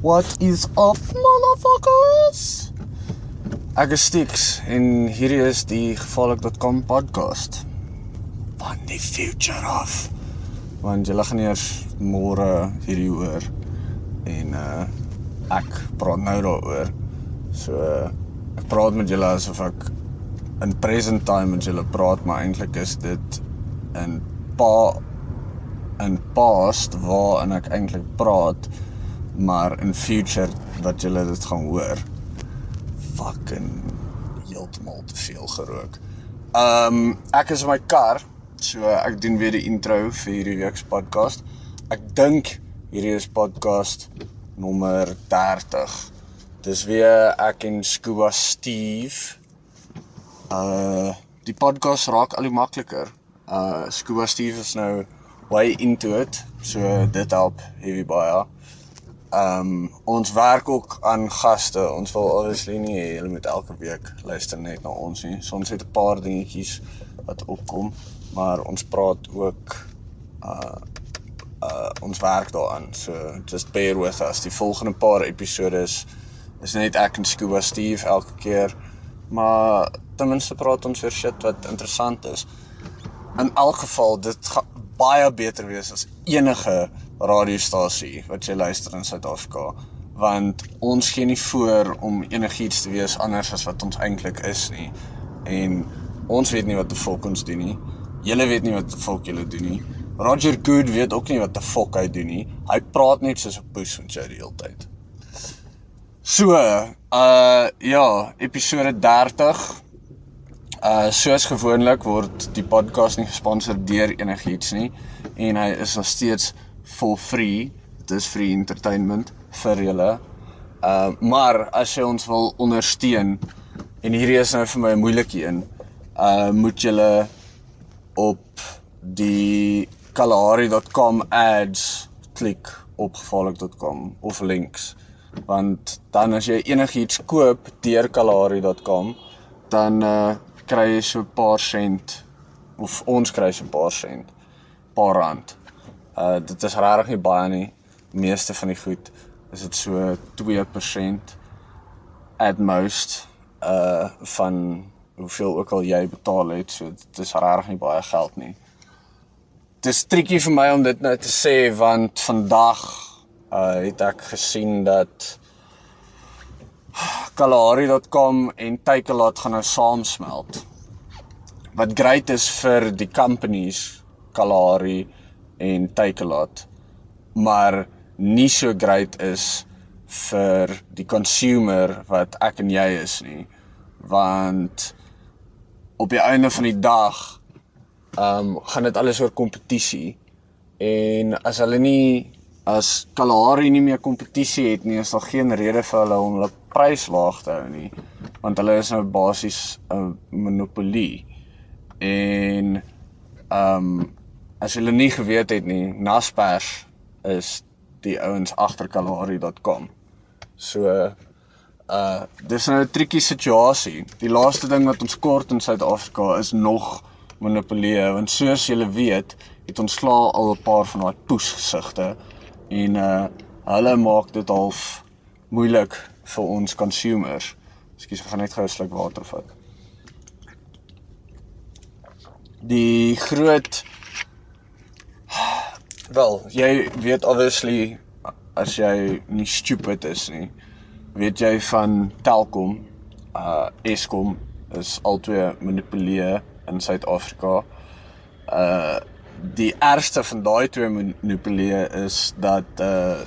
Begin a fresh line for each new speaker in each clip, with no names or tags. What is up motherfuckers? Ek is Stix en hierdie is die gevaarlik.com podcast. Van die future af. Want julle gaan eers môre hierdie hoor en uh ek praat nou daaroor. So uh, ek praat met julle asof ek in present time met julle praat, maar eintlik is dit in pa in past waarin ek eintlik praat, maar in future wat julle dit gaan hoor. Fucking heeltemal te veel gerook. Ehm um, ek is in my kar, so ek doen weer die intro vir hierdie week se podcast. Ek dink hierdie is podcast nommer 30. Dis weer ek en Scuba Steve. Uh die podcast raak al hoe makliker. Uh Scuba Steve is nou way into it. So dit help heavy baie. Ehm um, ons werk ook aan gaste. Ons wil obviously nie hê hulle moet elke week luister net na ons nie. Soms het 'n paar dingetjies wat opkom, maar ons praat ook uh uh ons werk daaraan. So just bear with us. Die volgende paar episode is is net ek en Scuba Steve elke keer, maar ten minste praat ons oor shit wat interessant is. In elk geval, dit ga, baie beter wees as enige radiostasie wat jy luister in Suid-Afrika want ons gee nie voor om enigiets te wees anders as wat ons eintlik is nie en ons weet nie wat die volk ons doen nie julle weet nie wat die volk julle doen nie Roger Good weet ook nie wat die volk hy doen nie hy praat net soos 'n poes van jou die hele tyd so uh ja episode 30 Uh soos gewoonlik word die podcast nie gesponsor deur enigiets nie en hy is nog steeds for free. Dit is free entertainment vir julle. Uh maar as jy ons wil ondersteun en hierdie is nou vir my 'n moeilike een. Uh moet julle op die kalahari.com ads klik op gevaarlik.com of links want dan as jy enigiets koop deur kalahari.com dan uh kry jy so 'n paar sent of ons kry so 'n paar sent, paar rand. Uh dit is regtig nie baie nie. Meeste van die goed is dit so 2% at most uh van hoeveel ook al jy betaal het, so dit is regtig nie baie geld nie. Dis triekie vir my om dit nou te sê want vandag uh het ek gesien dat kalahari.com en Takealot gaan nou saamsmelt. Wat great is vir die companies Kalahari en Takealot, maar nie so great is vir die consumer wat ek en jy is nie, want op die einde van die dag ehm um, gaan dit alles oor kompetisie en as hulle nie as Kalahari nie meer kompetisie het nie, is daar geen rede vir hulle om hulle prys laag te hou nie, want hulle is nou basies 'n monopolie. En ehm um, as julle nie geweet het nie, Naspers is die ouens agter Kalahari.com. So uh dis nou 'n triekie situasie. Die laaste ding wat ons kort in Suid-Afrika is nog monopolie, want soos julle weet, het ons klaar al 'n paar van daai poesgesigte en uh hulle maak dit half moeilik vir ons consumers. Ekskuus, ek gaan net gou 'n sluk water vat. Die groot wel, jy weet obviously as jy nie stupid is nie, weet jy van Telkom, uh Eskom is albei manipuleer in Suid-Afrika. Uh die ergste van daai twee manipuleer is dat uh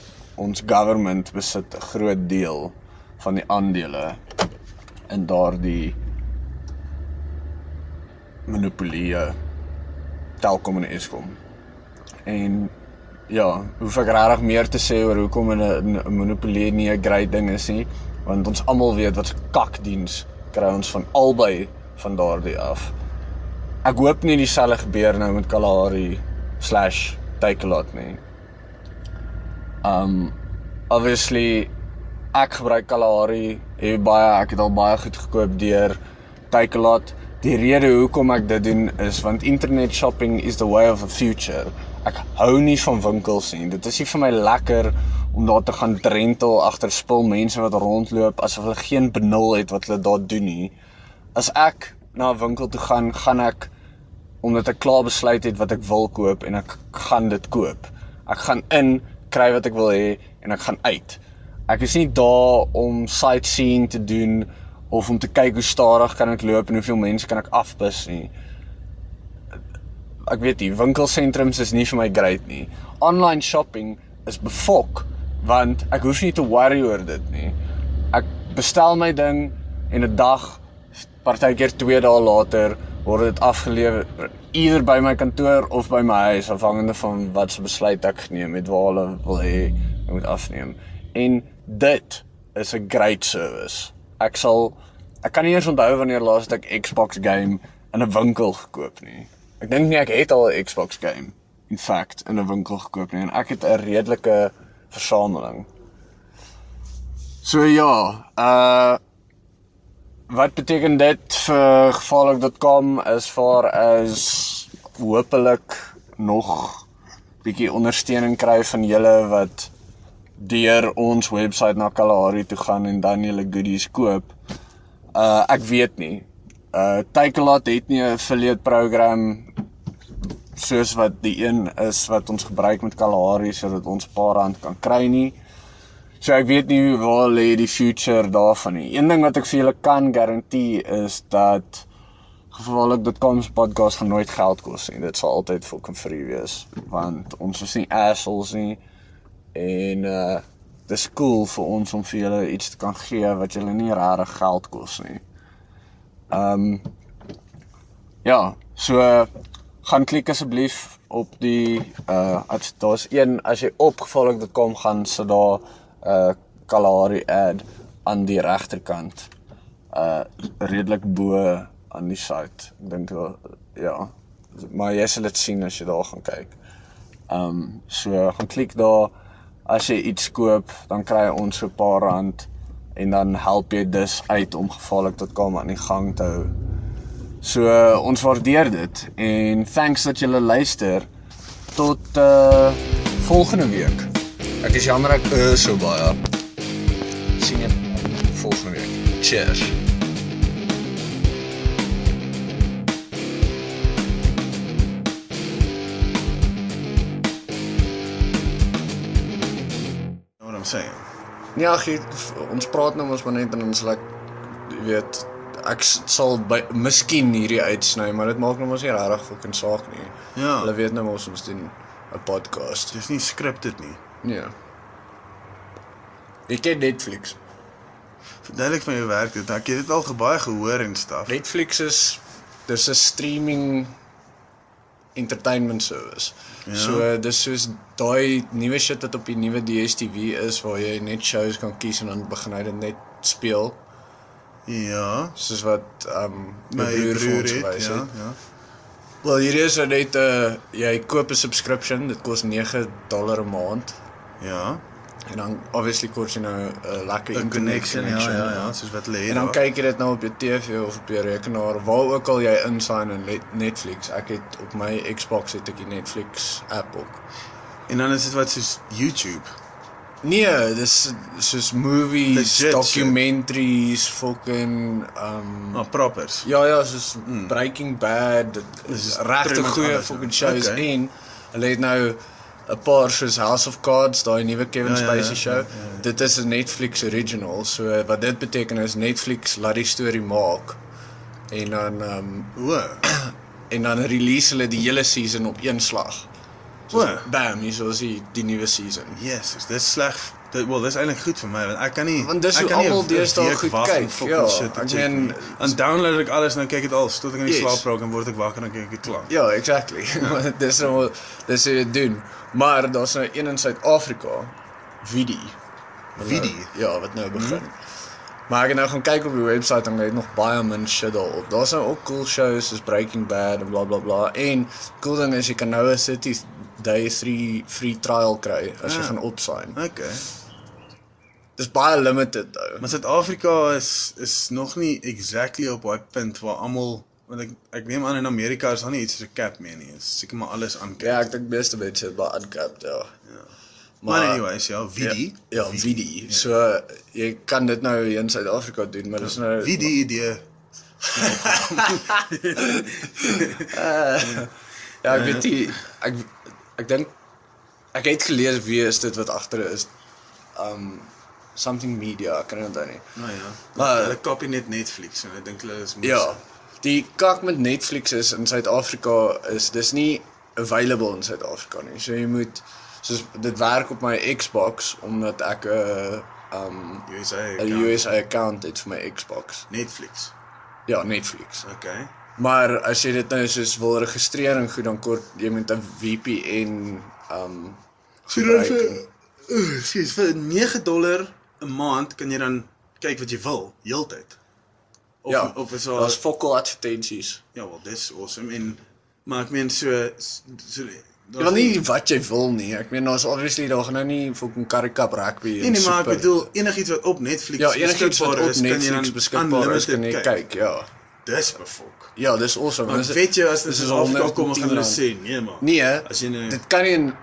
ons government besit 'n groot deel van die aandele in daardie monopolie Telkom en Eskom. En ja, hoef ek regtig meer te sê oor hoekom 'n monopolie nie 'n great ding is nie, want ons almal weet wat se kakdiens kry ons van albei van daardie af. Ek hoop nie dieselfde gebeur nou met Kalahari/Takealot nie. Um obviously ek gebruik Kalahari hier baie. Ek het al baie goed gekoop deur Takealot. Die rede hoekom ek dit doen is want internet shopping is the way of the future. Ek hou nie van winkels nie. Dit is nie vir my lekker om daar te gaan drentel agter spul mense wat rondloop asof hulle geen benul het wat hulle daar doen nie. As ek na 'n winkel toe gaan, gaan ek omdat ek klaar besluit het wat ek wil koop en ek gaan dit koop. Ek gaan in, kry wat ek wil hê en ek gaan uit. Ek is nie daar om sightseeing te doen of om te kyk hoe stadig kan ek loop en hoeveel mense kan ek afbus nie ek weet nie, winkelsentrums is nie vir my great nie. Online shopping is befok want ek hoef nie te worry oor dit nie. Ek bestel my ding en 'n dag partykeer 2 dae later word dit afgelewer either by my kantoor of by my huis afhangende van wat se besluit ek geneem het waar hulle wil hê ek moet afneem. En dit is 'n great service. Ek sal ek kan nie eens onthou wanneer laas ek Xbox game in 'n winkel gekoop nie. Ek dink nie ek het al 'n Xbox game in fact in 'n winkel gekoop nie en ek het 'n redelike versameling. So ja, uh wat beteken dit vir gevaarlik.com as far as hopelik nog bietjie ondersteuning kry van julle wat deur ons webwerf na Kalahari toe gaan en dan julle goodies koop. Uh ek weet nie. Uh Take a Lot het nie 'n affiliate program soos wat die een is wat ons gebruik met Kalahari sodat ons 'n paar rand kan kry nie. So ek weet nie waar lê die future daarvan nie. Een ding wat ek vir julle kan garandeer is dat gevaarlik.com se podcast gaan nooit geld kos nie. Dit sal altyd fucking free wees want ons is nie assholes nie en uh dis cool vir ons om vir julle iets te kan gee wat julle nie regtig geld kos nie. Ehm um, ja, so eh, gaan klik asseblief op die uh as daar's een as jy opgevallik.com gaan sit daar 'n uh, Kalahari ad aan die regterkant. Uh redelik bo aan die site. Ek dink wel, ja, maar jy sal dit sien as jy daar gaan kyk. Ehm um, so gaan klik daar as jy iets koop, dan kry ons so 'n paar rand en dan help jy dus uit om gevaarlik.com aan die gang te hou. So uh, ons waardeer dit en thanks dat julle luister. Tot uh volgende week. Ek is jammer ek uh, so baie. sien jou volgende week. Cheers.
know what I'm saying?
Nee, ag, jy- f- ons praat nou mos maar net en ons like jy weet ek s- sal by miskien hierdie uitsny, maar dit maak nou mos nie regtig fucking saak nie.
Ja.
Hulle weet nou mos ons doen 'n podcast.
Dis nie scripted nie.
Nee. Ek ken Netflix.
Verduidelik vir my hoe werk dit. Ek het dit al ge- baie gehoor en stuff.
Netflix is dis 'n streaming entertainment service. Ja. So dis soos daai nuwe shit wat op die nuwe DStv is waar jy net shows kan kies en dan begin hy dit net speel
Ja.
soos wat um
My broer,
vir ons
het,
gewys
ja, ja.
Wel hier is nou net 'n uh, jy koop 'n subscription, dit kos 9 dollar 'n maand
Ja.
en dan obviously kos jy nou 'n lekker
'n
internet
Connection, ja, ja, ja, soos wat hulle het.
En dan
daar.
kyk jy dit nou op jou TV of op jou rekenaar, waar ook al jy insign in net- Netflix. Ek het op my Xbox het ek die Netflix app ook.
en dan is dit wat soos YouTube.
Nee, dis soos movies,
Legit shit.
documentaries, fucking um
Maar oh, propers.
ja ja, soos mm. Breaking Bad, dit is
is
regte
pretty much
goeie
alles, ja.
fucking shows
Okay.
okay. en hulle het nou 'n paar soos House of Cards, daai nuwe Kevin
Ja, ja,
Spacey
ja,
show.
ja,
Dit is 'n Netflix original, so eh, wat dit beteken is Netflix laat die storie maak en dan um
O.
en dan release hulle die hele season op een slag. So
O.
bam, hier is die, die nuwe season.
Jesus, dis sleg. Dit wel, dis eintlik goed vir my want ek kan nie
Want dis
ek
hoe
kan nie
almal
'n- 'n
deesdae
week
goed
wag om
kyk,
fucking
ja.
shit te
Ek
check
meen-
nie. dan download ek alles nou kyk ek alles tot ek in die
Yes.
slaap raak en word ek wakker en dan kyk ek dit klaar.
Ja, exactly. Want dis nou dis hoe dit doen. Maar daar's nou een in Suid-Afrika, Vidi. Wat nou-
Vidi?
Ja, wat nou begin.
Mhm.
Mm -hmm. Maar ek het nou gaan kyk op die webwerf en daar het nog baie min shit daarop. Daar's nou ook cool shows soos Breaking Bad en blablabla. Bla, bla. En cool ding is jy kan nou 'n City Day 3 free trial kry as jy
Ah.
gaan opsign.
Okay.
Dis baie limited ou.
Maar Suid-Afrika is is nog nie exactly op daai punt waar almal want ek ek neem aan in Amerika is daar nie iets soos 'n cap meer nie. Is seker maar alles aan cap.
Ja, ek dink meeste mense het maar aankap, ja.
maar,
maar-
anyways, ja, Vidi.
Ja, VD. So jy kan dit nou hier in Suid-Afrika doen, maar dis nou
Wie die idee?
Ja, ek weet nie ek ek dink ek het gelees wie is dit wat agter is. Um something media, ek kan dit onthou nie.
Nou ja.
Maar-
hulle kopie net Netflix en ek dink hulle is moes.
Ja. Die kak met Netflix is in Suid-Afrika is dis nie available in Suid-Afrika nie. So jy moet soos dit werk op my Xbox omdat ek 'n um
USA.
'n
account.
USA account het vir my Xbox.
Netflix.
Ja, Netflix.
Okay.
Maar as jy dit nou soos wil registreer en goed dan kort jy moet 'n VPN um
So dan vir uh, sies vir 9 dollar 'n maand kan jy dan kyk wat jy wil heeltyd. Of
ja,
of is
daar's
daar
fokol advertensies.
Ja, wel dis awesome en maar ek meen so so
Jy wil nie wat jy wil nie. Ek meen daar's obviously daar gaan nou nie fucking karikap rugby en
Nee, nee, maar
super-
ek bedoel enigiets wat op Netflix
Ja, enigiets wat
beskikbaar
op
is, kan jy
Netflix
dan
beskikbaar is, kan jy
unlimited
kyk, ja.
Dis befok.
Ja, dis awesome.
Want
Dis-
weet jy as dit
dis
in
is
Afrika kom,
110
gaan hulle
rand.
sê nee maar.
Nee,
as jy nou
dit kan nie in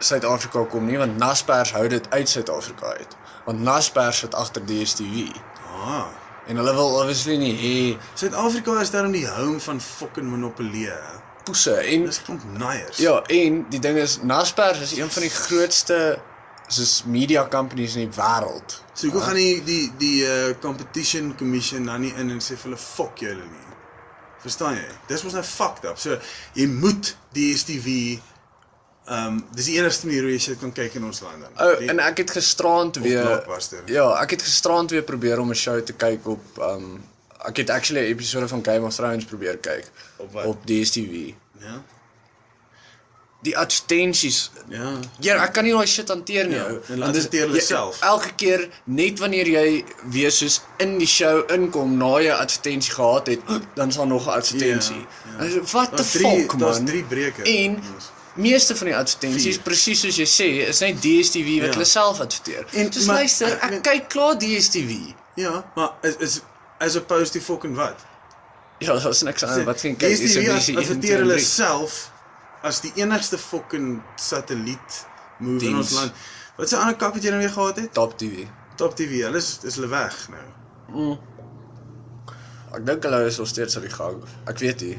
Suid-Afrika kom nie, want Naspers hou dit uit Suid-Afrika uit. Want Naspers sit agter DStv
ah,
en hulle wil obviously nie hê
Suid-Afrika is daarom die home van fucking monopolie. hè.
poese en
Dis klomp naiers.
ja, en die ding is Naspers is een van die grootste soos media companies in die wêreld.
So hoekom gaan die die die uh, competition commission dan nie in en sê vir hulle fok julle nie. Verstaan jy? Dis mos nou fucked up. So jy moet DStv ehm um, dis die enigste manier hoe jy shit kan kyk in ons land dan.
Ou,
Die-
Oh, en ek het gisterand weer
Blockbuster.
Ja, ek het gisterand weer probeer om 'n show te kyk op um ek het actually 'n episode van Game of Thrones probeer kyk
Op wat?
op DStv.
ja.
Die advertensies.
Ja.
Ja, ek kan nie daai shit hanteer nie. ou.
en
Want dit-
adverteer hulle
jy-
self.
Elke keer net wanneer jy weer soos in die show inkom na jy 'n advertensie gehad het, dan is daar nog 'n advertensie.
Ja, ja.
Yeah, yeah. Wat the
Daar's drie-
fuck man?
daar's drie breuke.
En
Yes.
meeste van die advertensies
Vier.
presies soos jy sê, is net DStv wat
Ja.
hulle self adverteer.
En-
Dis
maar-
luister,
ek
ek
meen-
kyk klaar DStv.
Ja, maar is is as opposed to fucking wat?
Ja, daar's niks aan wat geen kyk is
DStv
nie.
as- adverteer hulle self as die enigste fucking satelliet move in ons
Diens.
land. Wat se ander kap het jy nou weer gehad het?
Top TV.
Top TV, hulle is is hulle weg nou.
Ek dink hulle is nog steeds op die gang. Ek weet nie.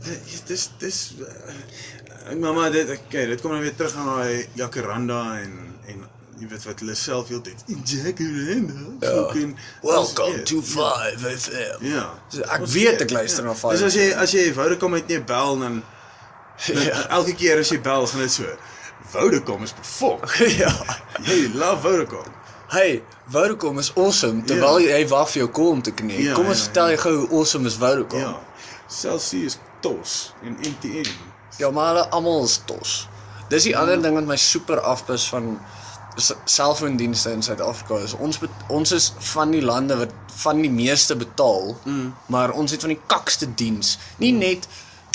Dis dis dis eh, ek mamma dit okay, dit kom nou weer terug aan daai Jacaranda en en jy weet wat hulle self heeltyd Jacaranda. fucking- Ja,
Five FM.
Ja.
So, ek weet ek luister na Five
Dis as jy as jy Vodacom het nie bel dan ja.
Ja.
elke keer as jy bel gaan dit so. Vodacom is befok.
ja.
Jy love Vodacom.
Hey, Vodacom is awesome terwyl
Ja.
jy wag vir jou call om te knik.
Ja,
Kom ons
ja,
vertel jy gou hoe awesome is Vodacom.
Ja. Cell C is tos en MTN.
Ja, maar hulle almal is tos. Dis
Ja.
die ander ding wat my super afpis van s- selfoondienste in Suid-Afrika is. Ons bet- ons is van die lande wat van die meeste betaal, mm. maar ons het van die kakste diens. Nie
Mm.
net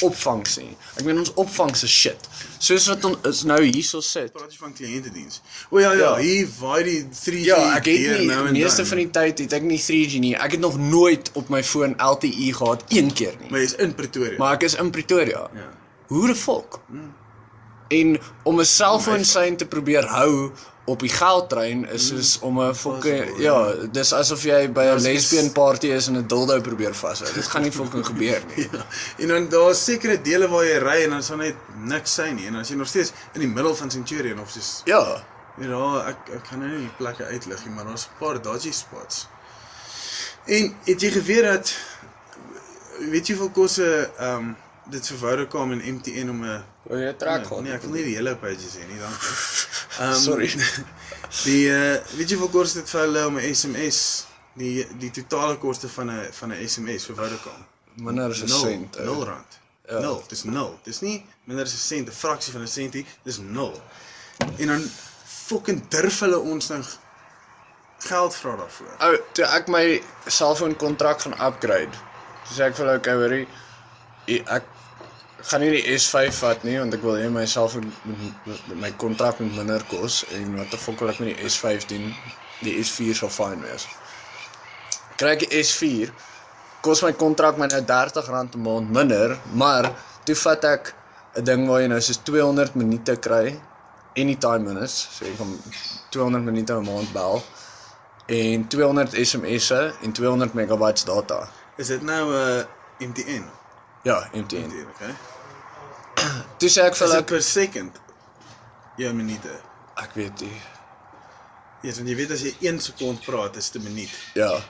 opvangs nie. Ek meen ons opvangs is shit. Soos wat ons is nou hierso sit.
Praat jy van kliëntediens? O ja ja,
Ja.
hier vaai die 3G
Ja, ek het
deur
nie
nou en
die meeste
dan.
van die tyd het ek nie 3G nie. Ek het nog nooit op my foon LTE gehad een keer nie.
Maar jy's in Pretoria.
Maar ek is in Pretoria.
ja. Hm.
Hoe die volk? En om 'n selfoon sein te probeer hou op die geldtrein is
Hm.
soos om 'n fucking
Possible,
ja, dis asof jy by 'n
is-
lesbian party is en 'n dildo probeer vashou. Dit gaan nie fucking gebeur nie.
ja. En dan daar's sekere dele waar jy ry en dan sal net niks sy nie. En as jy nog steeds in die middel van Centurion of soos
Ja.
weet daar ek ek gaan nou nie die plekke uitlig nie, maar daar's 'n paar dodgy spots. En het jy geweet dat weet jy hoeveel kos 'n ehm um, dit vir Vodacom en MTN om 'n
Wil jy
Nee, ek wil nie die hele pages hê nie, dankie. Ehm
Sorry.
Die uh, weet jy hoeveel kos dit vir hulle om 'n SMS die die totale koste van 'n van 'n SMS vir Vodacom?
Minder as 'n sent. eh. Ja. ou.
0 rand. 0, dis 0. Dis nie minder as 'n sent, 'n fraksie van 'n sentie, dis 0. En dan fucking durf hulle ons nou g- geld vra daarvoor.
Ou, Oh, toe ek my selfoon kontrak gaan upgrade. Toe sê ek vir hulle, "Okay, hoorie, i- ek gaan nie die S5 vat nie want ek wil hê my selfoon moet- my kontrak moet minder kos en wat die fuck wil ek met die S5 doen? Die S4 sal fyn wees." Kry ek die S4 kos my kontrak my nou R30 'n maand minder, maar toe vat ek 'n ding waar jy nou soos 200 minute kry, anytime minutes, so jy kan 200 minute 'n maand bel en 200 SMS'e en 200 megabytes data.
Is dit nou 'n uh, MTN?
Ja, MTN.
MTN, okay.
Toe sê ek vir
Is dit
hulle
per second? Ja, minute.
ek weet nie.
Ja, want jy weet as jy 1 sekond praat, is dit 'n minuut.
Ja.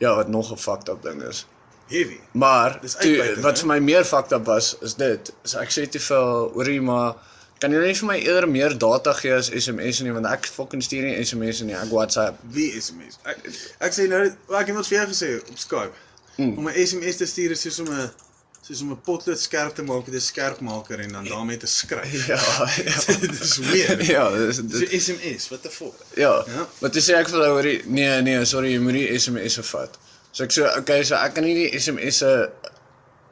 Ja, wat nog 'n fucked up ding is.
Heavy.
Maar
Dis
toe,
uitbuiting,
wat
hè?
vir my meer fucked up was, is dit. Is ek sê te veel hoorie maar kan jy nie vir my eerder meer data gee as SMS nie want ek fucking stuur nie SMS nie, ek WhatsApp.
Wie SMS? Ek ek sê nou, wel, ek het ons vir jou gesê op Skype. Mm. Om 'n SMS te stuur is soos om 'n soos om 'n potlood skerp te maak met 'n skerpmaker en dan daarmee te skryf.
Ja. ja.
dit is weird.
Ja, dis
Dis
dis
jou SMS, what the fuck?
Ja.
Ja.
Maar toe sê ek vir hulle hoorie, nee nee, sorry, jy moet die SMS'e vat. So ek sê, okay, so ek kan nie die SMS'e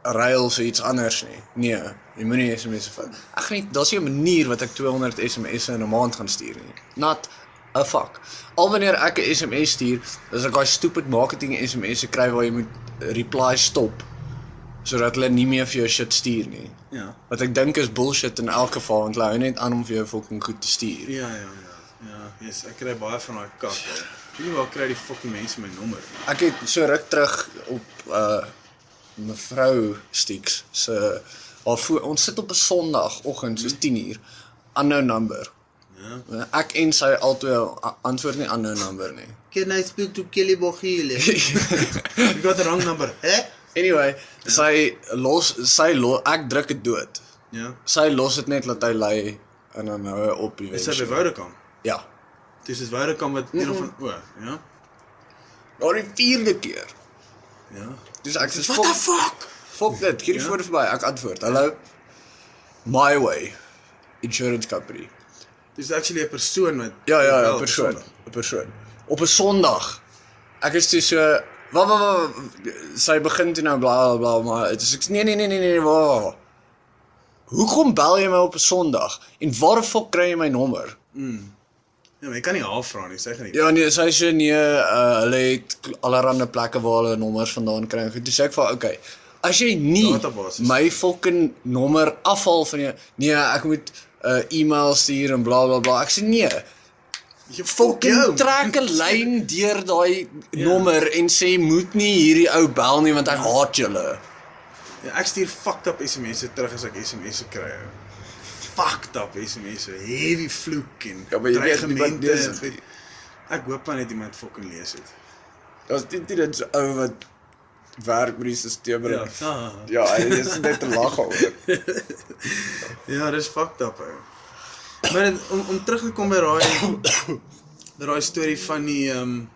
ruil vir iets anders nie. Nee, jy moenie SMS'e vat. Ek gaan nie, daar's nie 'n manier wat ek 200 SMS'e in 'n maand gaan stuur nie. Not a fuck. Al wanneer ek 'n SMS stuur, is ek daai stupid marketing SMS'e kry waar jy moet reply stop sodat hulle nie meer vir jou shit stuur nie.
Ja.
Wat ek dink is bullshit in elk geval want hulle hou net aan om vir jou fucking goed te stuur.
Ja, ja, ja. Ja, yes, ek kry baie van daai kak. hè. Ek weet nie waar kry die fucking mense my nommer nie.
Ek het so ruk terug op uh mevrou Stix se haar voor ons sit op 'n Sondagoggend soos 10uur unknown number.
Ja.
Ek en sy albei a- antwoord nie unknown number nie.
Can I speak to Kelly Bogile? you got the wrong number. Hè?
Anyway, sy los sy lo, ek druk dit dood.
Ja.
Sy los dit net laat hy lê en dan hou hy op die
Dis sy by
wees.
Vodacom.
Ja.
Dis is Vodacom wat een of ander o, ja.
Nou die vierde keer.
Ja.
Dis ek sê
What the
fuck,
fuck?
fuck dit, hierdie
Ja.
voor verby. Ek antwoord. Hallo. My way. Insurance company.
Dis actually 'n persoon wat
Ja ja, ja
wel,
'n persoon, 'n persoon. Op 'n Sondag. Ek is toe so wat wat wat sy begin toe nou bla bla bla maar dit is ek nee nee nee nee nee waar. Hoekom bel jy my op 'n Sondag en waar die fok kry jy my nommer?
Ja, maar jy kan nie haar vra nie, sy gaan nie.
Ja nee, sy sê nee, uh, hulle het allerlei plekke waar hulle nommers vandaan kry. en Goed, toe sê ek vir haar, okay. As jy nie
Databases.
my fucking nommer afhaal van jou nee, ek moet 'n uh, e-mail stuur en bla bla bla. Ek sê nee.
Jy
fucking trek 'n lyn deur daai nommer en sê moet nie hierdie ou bel nie want ek haat julle.
Ja, ek stuur fucked up SMS'e terug as ek SMS'e kry. ou. Fucked up SMS'e, heavy vloek en
Ja, maar jy weet nie wat
dreigemente
lees
en
het
goed. Ek hoop maar net iemand fucking lees dit.
Daar's Ja, dit dit so ou wat werk met die stelsel.
Ja. Ah.
ja, hy is net te lag oor.
Ja, dis fucked up ou. Maar dit, om om terug te kom by daai by daai storie van die ehm um,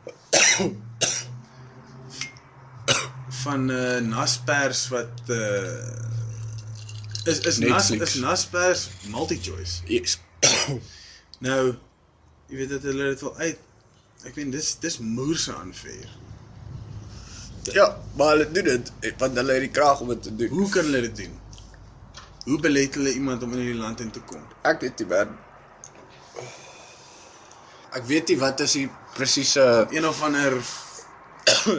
van eh uh, Naspers wat eh uh, is is Nas,
Netflix.
is Naspers multi-choice.
Yes.
Nou jy weet dat hulle dit wil uit ek meen dis dis moerse aanvuur.
Ja, maar hulle doen dit want hulle het die krag om dit te doen.
Hoe kan hulle dit doen? Hoe belet hulle iemand om in hierdie land in te kom?
Ek weet nie man. Ek weet nie wat is die presiese
Een of ander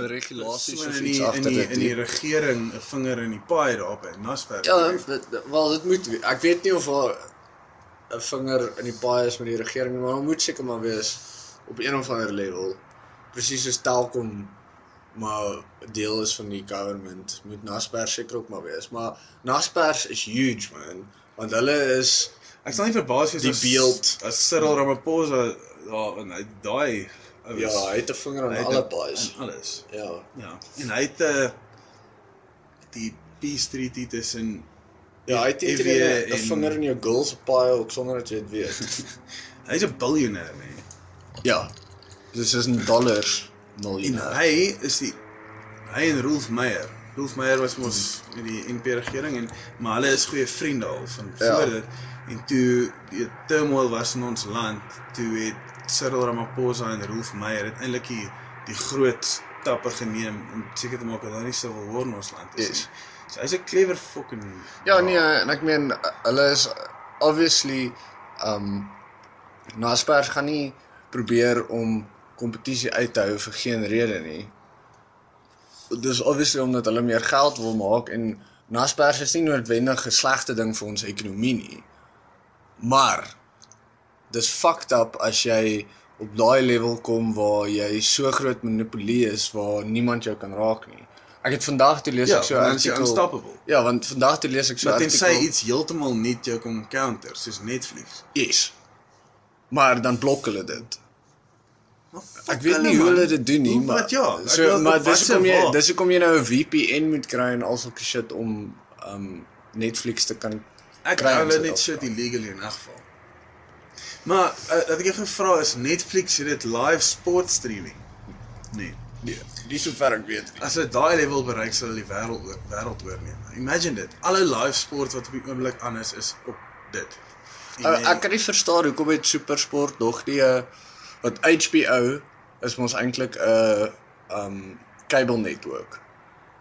regulasies
Soos
of
in
iets
die in
agter
die
dit.
in die regering 'n vinger in die paai daarop in Nasberg.
Ja, dit- dit- wel dit moet we- ek weet nie of daar 'n vinger in die paai is met die regering nie, maar daar moet seker maar wees op een of ander level. Presies soos Telkom maar deel is van die government, moet Naspers seker ook maar wees, maar Naspers is huge man, want hulle is
ek sal nie verbaas wees
die
as-
beeld.
as Cyril Ramaphosa daar in hy daai oues-
ja, hy het 'n vinger
hy
aan
het
alle
dit-
paais.
aan Alles.
Ja.
Ja. En hy het 'n die peace treaty tussen
Ja, hy het
EW
eintlik 'n
en-
vinger in jou girl se paai ook sonder dat jy dit weet.
hy's 'n biljoenêr nê.
ja. Dis is in dollars
En
miljoene.
hy is die hy en Rolf Meyer. Rolf Meyer was mos in die NP regering en maar hulle is goeie vriende al van
Hmm. Ja.
voor dit. En toe die turmoil was in ons land, toe het Cyril Ramaphosa en Rolf Meyer uiteindelik die, die groot stappe geneem om seker te maak dat daar nie civil war in ons land is
Yes.
nie. So hy's 'n clever fucking
Ja nee, en ek meen uh, hulle is uh, obviously um Naspers gaan nie probeer om kompetisie uit te hou vir geen rede nie. dis obviously omdat hulle meer geld wil maak en naspers is nie noodwendig 'n slegte ding vir ons ekonomie nie. Maar dis fucked up as jy op daai level kom waar jy so groot monopolie is waar niemand jou kan raak nie. Ek het vandag toe lees
Ja,
ek so 'n
dan is jy
artikel.
unstoppable.
Ja, want vandag toe lees ek so 'n
Maar
artikel.
tensy iets heeltemal net jou kom counter soos Netflix.
Yes. Maar dan blok hulle dit.
Maar fuck
Ek weet nie hoe
man.
hulle dit doen nie,
Hoe-
maar
wat ja, ek
so
wil-
maar
wat
dis
se
hoekom jy
waar?
dis hoekom jy nou 'n VPN moet kry en al sulke shit om um Netflix te kan
Ek
kry in
dink hulle net
Suid-Afrika.
shit illegally in elk geval. Maar uh, wat ek jou gevra is Netflix het dit live sport streaming. Nee.
Nee, dis sover ek weet.
As hulle daai level bereik sal hulle die wêreld oor wêreld oorneem. Imagine dit. Alle live sport wat op die oomblik aan is is op dit.
Ou, Oh, Eh,
Nee.
ek kan nie verstaan hoekom het SuperSport nog die eh, wat HBO is mos eintlik 'n um kabelnetwerk.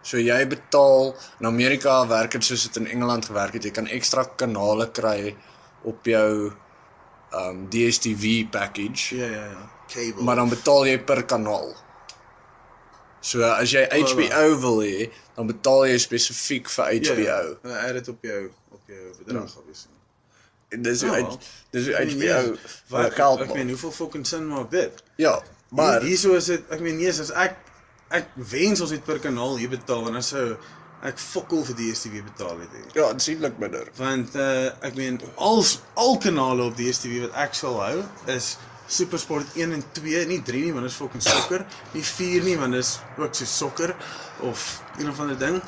So jy betaal in Amerika werk dit soos dit in Engeland gewerk het. Jy kan ekstra kanale kry op jou um DStv package.
ja ja ja. Cable.
maar dan betaal jy per kanaal. So as jy HBO wil hê, dan betaal jy spesifiek vir
Ja,
HBO.
ja. Hulle add dit op jou op jou bedrag
Ja.
obviously.
En dis
Ja,
hoe
wel.
uit dis hoe
Nee.
HBO vir
wat
geld
ek meen
maak.
hoeveel fucking sin maak dit?
Ja,
Maar
maar
hierso is dit ek meen nee, as ek ek wens ons het per kanaal hier betaal en dan sou ek fokol vir DStv betaal het. He.
ja, aansienlik minder.
Want uh ek meen al al kanale op DStv wat ek sal hou is SuperSport 1 en 2, nie 3 nie want dit is fucking sokker, nie 4 nie want dit is ook so sokker of een of ander ding.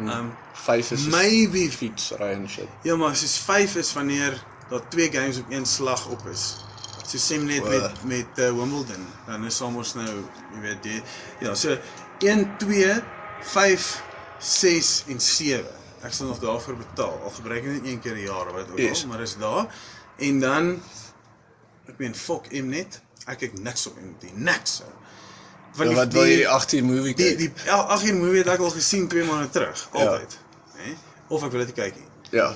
Um
5 is my
maybe
fiets ry en shit.
Ja, maar soos 5 is wanneer daar twee games op een slag op is. So sien net met met uh, Wimbledon, dan is soms nou, jy weet, die, ja, so 1 2 5 6 en 7. Ek sal nog daarvoor betaal. Al gebruik ek dit een keer per jaar, wat ook al,
Yes.
yes. maar is daar. En dan ek meen fok Mnet, ek kyk niks op Mnet, nie, niks. ou. Want
Ja,
die-
wat wil jy
die-
die 18 movie
Die
kyk?
die el- ag hier movie het ek al gesien 2 maande terug,
Ja.
altyd, ja. né? Of ek wil dit nie kyk nie.
Ja.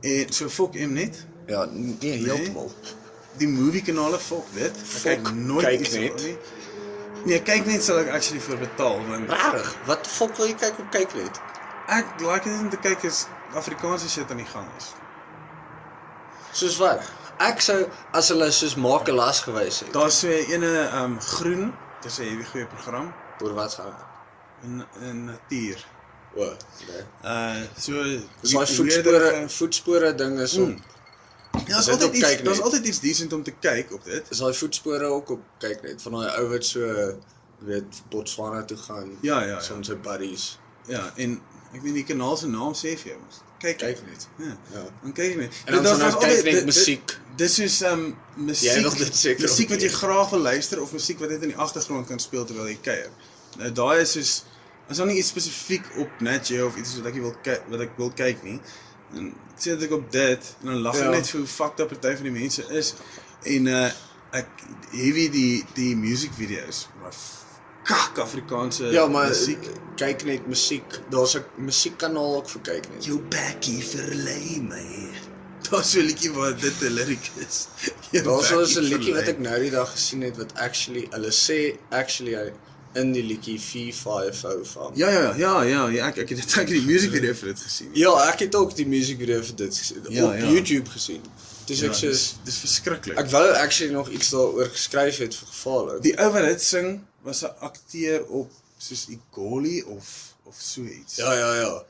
En Eh, so fok Mnet.
Ja, nee, heeltemal.
Die movie kanale fok dit. Ek kyk
Fok,
nooit
kyk
iets
net.
op nie. Nee, kyk net sal ek actually vir betaal want
Rarig. Wat die fok wil jy kyk op kyk net?
ek like dit om te kyk as Afrikaanse shit aan die gang is.
Soos wat? Ek sou as hulle soos Makelas gewys het.
Daar's so 'n ene um groen, dis 'n hele goeie program
Oor wat gaan?
in in natuur.
O, nee.
Uh so
So
hoe-
daai
hoe eerder
voetspore
ek-
voetspore ding is op mm.
Ja, daar's
dit
altyd
op
iets,
kyk
daar's
net.
altyd iets decent om te kyk op dit.
is daai voetspore ook op kyk net van daai ou wat so weet Botswana toe gaan.
Ja, ja, ja.
Saam met sy buddies.
Ja, en ek weet die kanaal se naam sê vir jou. Kyk
Kyk net.
Ja.
Ja.
Dan kyk jy net.
En dan
Dit-
gaan
daar's
ons kyk
altyd-
net
dit- dit-
musiek.
Dis soos um musiek.
Jy wil dit seker
Musiek wat jy
ook
graag wil luister of musiek wat net in die agtergrond kan speel terwyl jy kuier. Nou daai is soos as daar nie iets spesifiek op Nat Geo of iets is wat ek nie wil kyk wat ek wil kyk nie. En sien ek op dit en dan lag ek
Ja.
net vir hoe fucked up party van die mense is en uh ek heavy die die music videos. Maar kak Afrikaanse
Ja, maar
musiek.
kyk net musiek. Daar's 'n musiekkanaal ook vir kyk net.
Jou bekkie verlei my. Daar's so 'n liedjie waar dit 'n liriek is. Jou
Daar's wel eens 'n
bekkie
liedjie wat
verlei.
ek nou die dag gesien het wat actually hulle sê actually hy in die liedjie 45 van.
Ja ja ja ja ja ek ek het dit ek het die musiekvideo vir dit gesien.
Ja, ek het ook die musiekvideo vir dit gesien,
Ja,
op
ja.
YouTube gesien. Dis
Ja,
ek soos
dis dis verskriklik.
ek wou actually nog iets daaroor geskryf het vir geval.
die ou wat dit sing was 'n akteur op soos Igoli of of so iets.
Ja ja ja.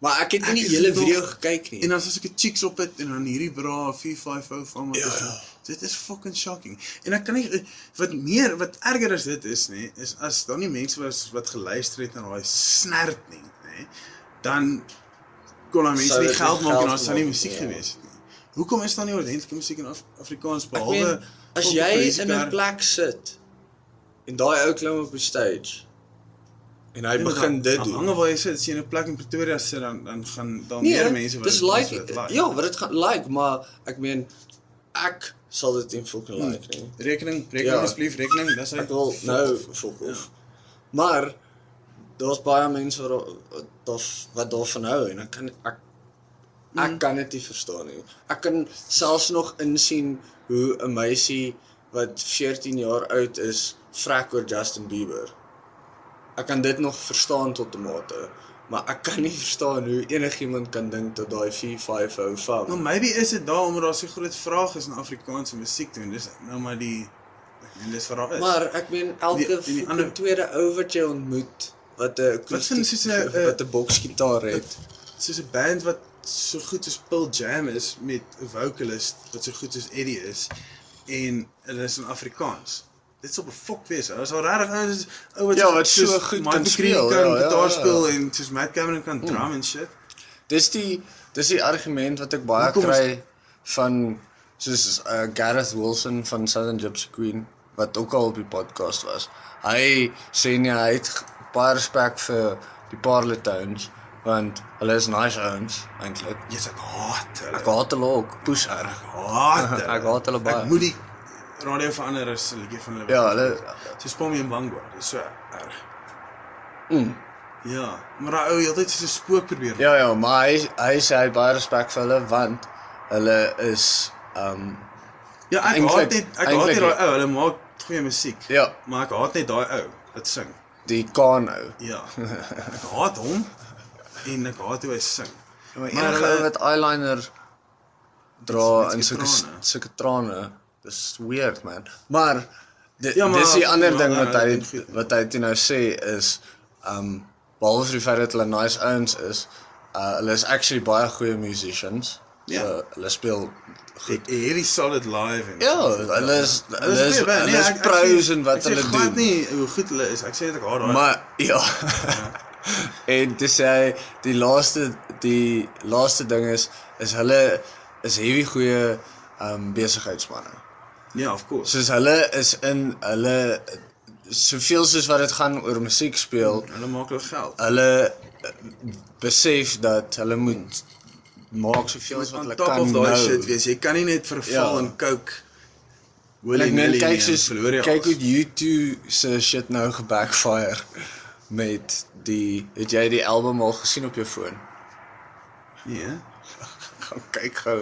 Maar ek het
Ek
nie die
het
hele
nog-
video gekyk nie.
En dan soos ek 'n chicks op het en dan hierdie bra 450 van wat
Ja,
is.
ja.
Dit is fucking shocking. En ek kan nie eh, wat meer wat erger as dit is nê, is as daar nie mense was wat geluister het na daai snert nie, nê. Dan kon daar mense
Sou
nie
dit
geld
nie
maak en
geld
daar sou nie
maak,
musiek
ja.
gewees het nie. Hoekom is daar nie ordentlike musiek in Af Afrikaans
Ek
behalwe
meen, as
fucking
jy
Crazy
in 'n
Car?
plek sit en daai ou klim op 'n stage en hy
Ja, maar
begin
dan-
dit
dan
doen.
Hange waar jy sit, as jy in 'n plek in Pretoria sit dan dan gaan daar meer mense wat
Nee, dis
dit- wat
like
dit like.
ja, wat dit gaan like, maar ek meen ek sal dit nie fucking
Hmm.
like nie.
Rekening, rekening
Ja.
asseblief, rekening. Dis
Ek wil nou fuck
Ja.
off. Maar daar's baie mense wat daar- daar- wat daarvan hou en ek kan ek Ek
Hmm.
kan dit nie verstaan nie. Ek kan selfs nog insien hoe 'n meisie wat 14 jaar oud is vrek oor Justin Bieber.
Ek kan dit nog verstaan tot 'n mate, maar ek kan nie verstaan hoe enigiemand kan dink dat daai V5 hou
Maar
van.
Nou, maybe is dit daar omdat daar so groot vraag is na Afrikaanse musiek toe en dis nou maar die ek meen dis wat daar is.
Maar ek meen elke
Die-
die,
die ander-
tweede ou wat jy ontmoet wat 'n
vind soos 'n, eh,
wat 'n boksgitaar het.
soos 'n band wat so goed soos Pearl Jam is met 'n vocalist wat so goed soos Eddie is en hulle is in Afrikaans. Dit sal befok wees. Hulle is al regtig ouens ou wat
Ja,
soos-
wat so
soos
goed
Michael
kan
Creed
speel,
kan
ja, Hmm. ja,
gitaar
ja.
speel en soos Matt Cameron kan drum en shit.
Dis die dis die argument wat ek baie
Hoekom is-
kry van soos uh, Gareth Wilson van Southern Gypsy Queen wat ook al op die podcast was. Hy sê nee, hy het g- baie respek vir die Parletowns want hulle is nice ouens eintlik.
Jy's ek haat hulle.
Ek haat hulle ook, poes erg.
haat hulle.
Ek haat hulle baie.
Ek moet die radio verander as 'n liedjie van hulle.
Ja, hulle
Soos Pommy en Bangwa, dis so erg. Mm. Ja, maar daai ou heeltyd soos 'n spook probeer.
Ja ja, maar hy hy sê hy het baie respek vir hulle want hulle is um
Ja, ek
Eintlik-
haat net ek haat net
eintlik-
daai ou, hulle maak goeie musiek.
ja,
Maar ek haat net daai ou wat sing.
die Kaan ou.
Ja. Ek haat hom en ek haat hoe hy sing.
Ja, Maar
Maar
enige
hulle-
ou wat eyeliner dra
met
en sulke
trane.
sulke trane, dis weird man. Maar di,
Ja, maar-
dis die ander
maar
ding
hulle
wat hy
doen goed.
wat hy toe nou sê is um behalwe vir die feit dat hulle nice ouens is, uh, hulle is actually baie goeie musicians.
Ja.
So, hulle speel
Dit
goed.
hierdie solid live en
Ja, hulle is hulle is
Ja. goeie band. Nee,
hulle is
ek- ek sê-
pros in
ek
wat
sê
hulle
glad
doen.
nie hoe goed hulle is. Ek sê net ek haat daai.
Maar ja. en dis hy die laaste die laaste ding is is hulle is heavy goeie um besigheidsmanne.
ja, of course.
Soos hulle is in hulle soveel soos wat dit gaan oor musiek speel,
Hulle maak hulle geld.
hulle eh, besef dat hulle moet maak soveel as wat
On
hulle
top of
kan
daai shit
nou.
wees, jy kan nie net verval
Ja.
in coke.
En
Willy
ek meen
nilly
kyk
nie en
soos
verloor jy
kyk hoe
alles.
U2 se shit nou gebackfire met die het jy die album al gesien op jou foon?
nee,
gaan kyk gou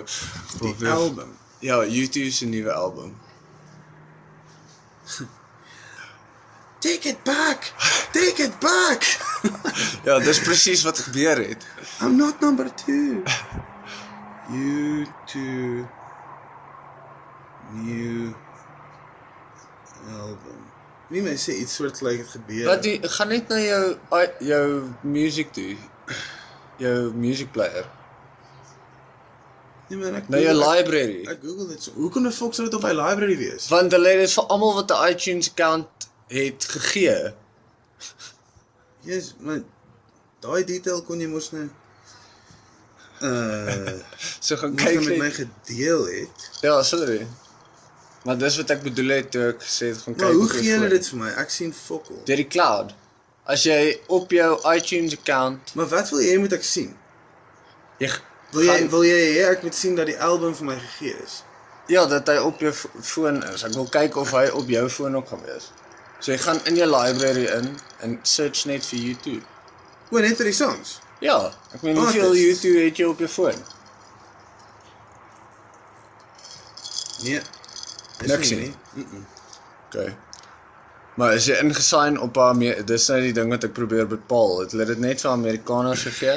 op
die album.
Ja, U2 se nuwe album.
Take it back. Take it back.
Ja, dis presies wat gebeur het.
I'm not number two. you two. New album. Nie my sê iets soort like het gebeur.
Wat die gaan net na jou i- jou music toe. Jou music player.
nee, man, ek
Na jou
Google-
library.
Ek Google dit so. Hoe kon 'n fok sou dit op hy library wees?
Want hulle het dit vir almal wat 'n iTunes account het gegee.
Jesus, man. Daai detail kon jy mos nou uh
So gaan
kyk
kyk
met my
net.
gedeel het.
Ja, sorry. Maar dis wat ek bedoel het toe ek gesê het gaan kyk.
Maar Nou, hoe
op jou
gee hulle
foon.
dit vir my? Ek sien fokkel.
Deur die cloud. As jy op jou iTunes account
Maar wat wil jy moet ek sien?
jy
Wil jy
gaan-
wil jy hê ek moet sien dat die album vir my gegee is?
Ja, dat hy op jou f- foon is. Ek wil kyk of hy op jou foon ook gaan wees. So jy gaan in jou library in en search net vir YouTube.
O, net vir die songs.
Ja, ek meen
Ah,
hoeveel
dis-
YouTube het jy op jou foon?
Nee. Dis
Niks
nie,
nie.
nie.
OK. Maar as jy ingesign op haar mee, dis nou die ding wat ek probeer bepaal. Het hulle dit net vir Amerikaners gegee?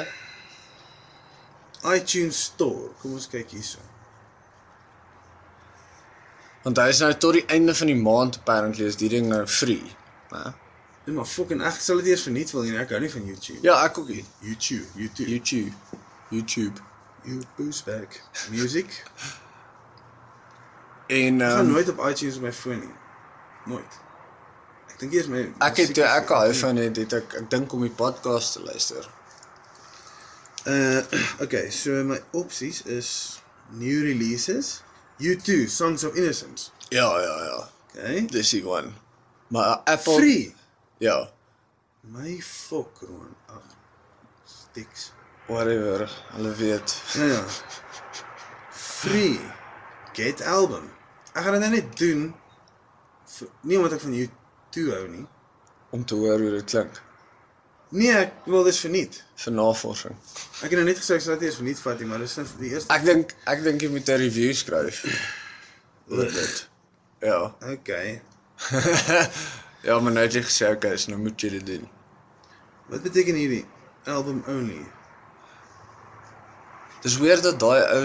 iTunes Store. Kom ons kyk hierso.
Want hy is nou tot die einde van die maand apparently is die ding nou free, né?
Nee, maar fucking ek sal dit eers verniet wil nie. Ek hou nie van YouTube.
Ja, ek ook nie.
YouTube, YouTube.
YouTube. YouTube.
You boost back. Music.
En
Ek gaan
um,
nooit op iTunes op my foon nie. Nooit. Ek dink eers my
ek het toe ek al iPhone het, het ek ek dink om die podcast te luister.
Uh okay, so my opsies is new releases. U2 Songs of Innocence.
Ja, ja, ja.
Okay.
Dis die one. Maar Apple
Free.
Ja,
My fok, Ron. Ag. Stiks.
whatever. Hulle weet.
Ja ja. Free get album. Ek gaan dit nou net doen vir, nie omdat ek van U2 hou nie.
Om te hoor hoe dit klink
Nee, ek wil dis verniet.
vir navorsing.
Ek het nou net gesê ek sal dit eers verniet vat, nie, maar dis nou die eerste.
Ek dink ek dink jy moet 'n review skryf. Oor dit. Ja.
Okay.
ja, maar nou het jy gesê okay, so nou moet jy dit doen.
Wat beteken hierdie album only?
Dis weer dat daai ou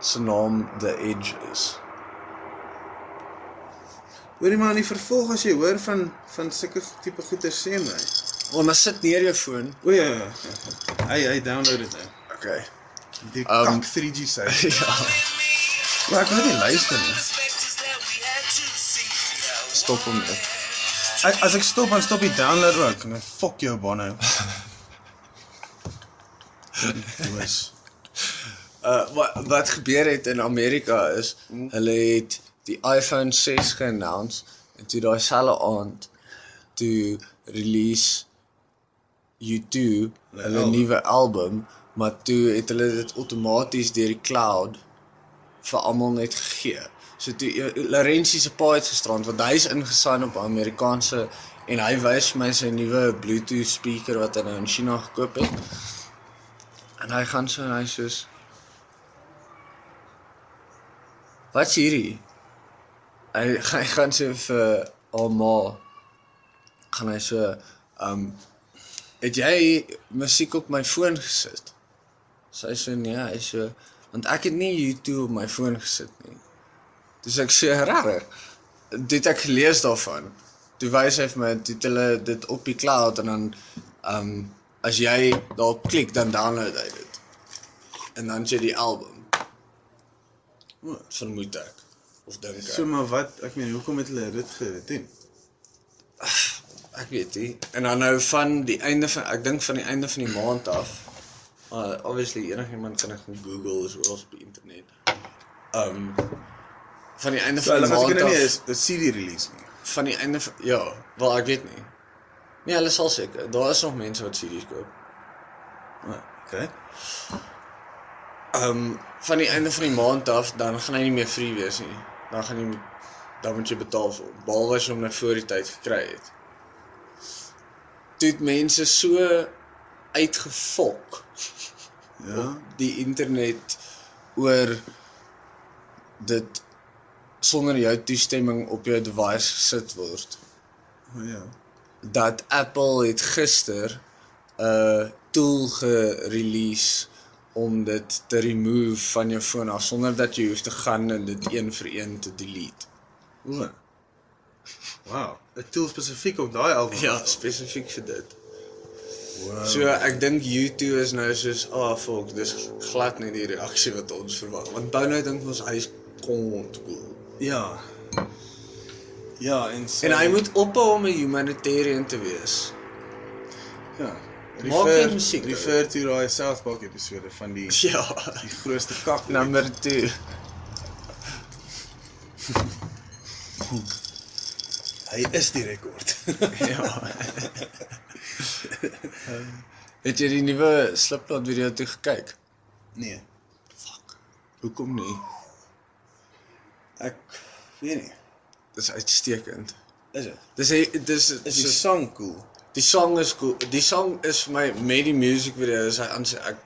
se naam The Edge is.
Hoorie maar in die vervolg as jy hoor van van sulke tipe goeie sê my.
Wanneer sit neer jou foon.
O ja. ja. Hy hy download dit nou.
Okay.
Die
Um,
kak 3G site.
ja.
Maar ek wil nie luister nie.
Stop hom net.
Ek as ek stop dan stop die download ook. Nou fuck jou Bono. Dis
Uh wat wat gebeur het in Amerika is hulle het die iPhone 6 geannounce en toe daai selfe aand toe release U2 hulle
album.
nuwe album, maar toe het hulle dit outomaties deur die cloud vir almal net gegee. So toe eh, Larentie se pa het gisterand want hy is ingesign op 'n Amerikaanse en hy wys vir my sy nuwe Bluetooth speaker wat hy nou in China gekoop het. En hy gaan so en hy sê Wat's hierdie? Hy hy gaan so vir haar ma gaan hy so um het jy musiek op my foon gesit? Sy sê nee, hy sê want ek het nie YouTube op my foon gesit nie. Dis ek sê rarig. Dit ek gelees daarvan. Toe wys hy vir my toe het hulle dit op die cloud en dan um as jy daarop klik dan download hy dit. En dan het jy die album. Wat vermoed ek of dink ek?
so maar wat ek meen hoekom het hulle dit gedoen?
Ek weet nie. En dan nou van die einde van ek dink van die einde van die maand af. Uh, obviously enigiemand kan dit gaan Google is oral op die internet. Um van die einde
So
van
hulle
die
gaan
maand
seker nie
af.
is 'n CD release nie.
Van die einde van, ja, wel ek weet nie. Nee, hulle sal seker. Daar is nog mense wat CD's koop.
Ah, Okay.
Um van die einde van die maand af dan gaan hy nie meer free wees nie. Dan gaan jy moet- dan moet jy betaal vir hom. Behalwe as jy hom nou voor die tyd gekry het. Toe het mense so uitgefok
Ja.
die internet oor dit sonder jou toestemming op jou device gesit word.
o Ja.
Dat Apple het gister 'n tool gerelease om dit te remove van jou foon af sonder dat jy hoef te gaan en dit een vir een te delete.
O. Wow, 'n tool spesifiek op daai album.
Ja, spesifiek vir dit.
Wow.
So ek dink YouTube is nou soos, "Ah, oh, volk, dis glad nie die reaksie wat ons verwag." Want dan nou dink ons hy's kon ontkoel.
ja. Ja, en so,
En hy moet ophou om 'n humanitarian te wees.
ja.
Maak
refer-
net musiek, ou.
Refer to daai South Park episode van die
Ja.
die grootste kak.
Nommer 2.
Hy is die rekord.
Ja. Het jy die nuwe Slipknot video toe gekyk?
nee.
Hoekom nie?
Ek weet nie.
Dis uitstekend.
Nee, Is dit?
Dis hy- dis
Is die
soos-
sang cool?
die song is cool. Die song is vir my met die music video is hy aan sy ek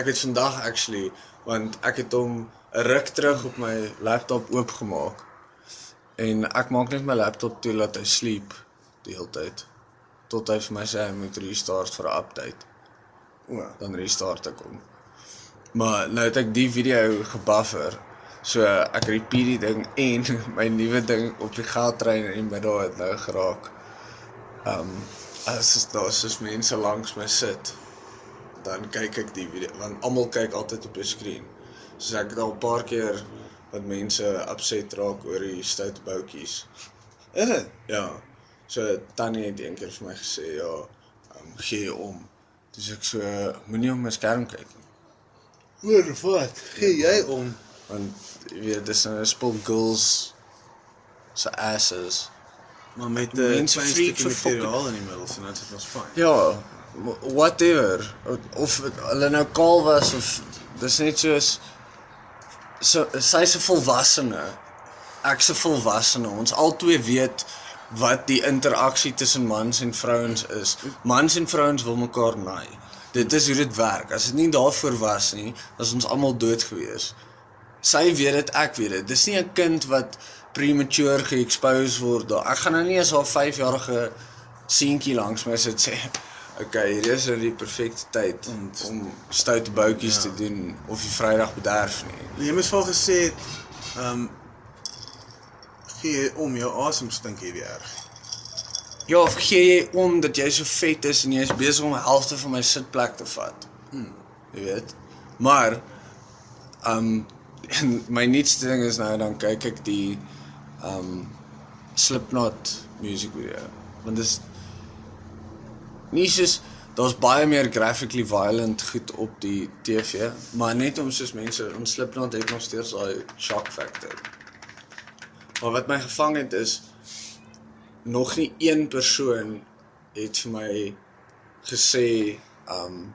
ek het vandag actually want ek het hom 'n ruk terug op my laptop oopgemaak. En ek maak net my laptop toe dat hy sleep die hele tyd tot hy vir my sê hy moet restart vir 'n update.
O.
dan restart ek hom. Maar nou het ek die video gebuffer. So ek repeat die ding en my nuwe ding op die geldtrein in die middag het nou geraak. Um as is daar soos mense langs my sit, dan kyk ek die video want almal kyk altyd op die skerm. So ek het al 'n paar keer wat mense upset raak oor die stout boutjies.
Is dit?
Ja. So Tannie het eendag vir my gesê, ja, um, gee om. Dis ek so moenie op my skerm kyk nie,
Oor wat? Gee jy om?
want jy weet dis nou 'n spul girls se asses.
Maar met 'n
Mense
klein
freak
stukkie
vir fucking-
materiaal in die middel, so nou is dit ons fyn.
Ja, wh- whatever. Of het hulle nou kaal was of dis net soos so sy's 'n volwassene. Ek's 'n volwassene. Ons albei weet wat die interaksie tussen mans en vrouens is. Mans en vrouens wil mekaar naai. Dit is hoe dit werk. As dit nie daarvoor was nie, was ons almal dood gewees. Sy weet dit, ek weet dit. Dis nie 'n kind wat premature ge-expose word daar. Ek gaan nou nie as haar 5-jarige seentjie langs my sit sê, okay, hier is nou die perfekte tyd om,
te-
om stoute boutjies te doen of die Vrydag bederf nie.
Jy moes al gesê het ehm um, gee om jou asem stink hierdie erg.
Ja, of gee jy om dat jy so vet is en jy's besig om die helfte van my sitplek te vat. Hmm, Jy weet. Maar um en my nuutste ding is nou dan kyk ek die um Slipknot musiekvideo. Want dis nie soos daar's baie meer graphically violent goed op die TV, maar net om soos mense ons Slipknot het nog steeds daai shock factor. Maar wat my gevang het is nog nie een persoon het vir my gesê um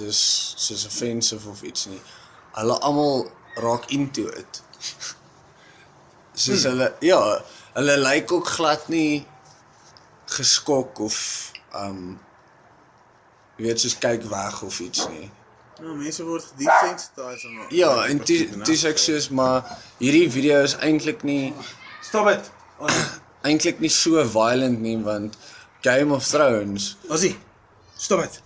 dis soos offensive of iets nie. Hulle almal raak into it. Soos hulle ja, hulle lyk ook glad nie geskok of um jy weet soos kyk weg of iets nie.
Nou mense word desensitized aan.
Ja, en dis dis ek soos maar hierdie video is eintlik nie
Stop dit.
eintlik nie so violent nie want Game of Thrones
Osie. Stop dit.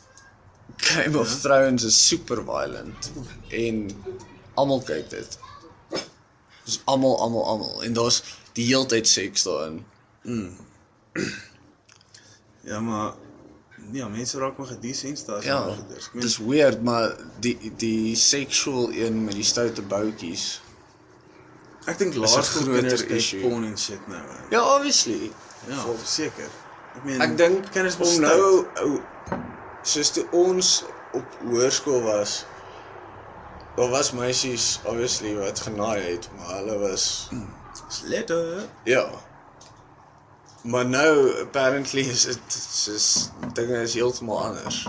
Game of Thrones is super violent en almal kyk dit. Dis almal almal almal en daar's die heeltyd seks daarin.
Ja, maar ja, mense raak maar gedesensitized
Ja.
aan goeders. Ek meen,
Dis weird maar die die sexual een met die stoute boutjies.
ek dink
is 'n
laas
groter
groter
issue.
issue porn en shit nou. hè.
Ja, obviously.
Ja, seker. Ek meen
Ek dink
kinders
om
bestaan.
nou Hmm. ou soos toe ons op hoërskool was daar was meisies obviously wat genaai het, maar hulle was
letter.
Ja. Maar nou apparently is dit soos dinge is heeltemal anders.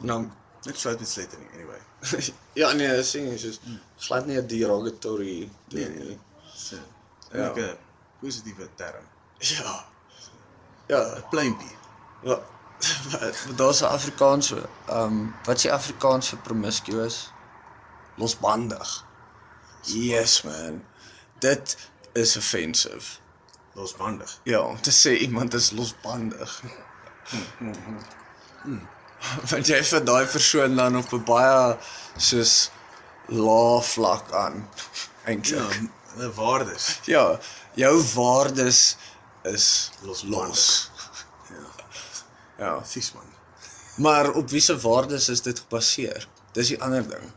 En Dan
Niks fout met letter nie anyway.
ja nee, dit sien jy soos glad nie 'n derogatory
Nee,
ding nie.
So,
Ja.
ja. 'n positiewe term.
Ja. Ja,
Pluimpie.
wa- wa- daar's 'n Afrikaanse ehm um, wat is die Afrikaanse promiscuous? Losbandig. Yes man. Dit is offensive.
Losbandig.
Ja, om te sê iemand is losbandig. Want jy vir daai persoon dan op 'n baie soos lae vlak aan
Ja,
eintlik.
hulle waardes.
Ja. jou waardes is
Losbandig.
los. Ja. Ja,
Presies man.
maar op wiese waardes is dit gebaseer? Dis die ander ding.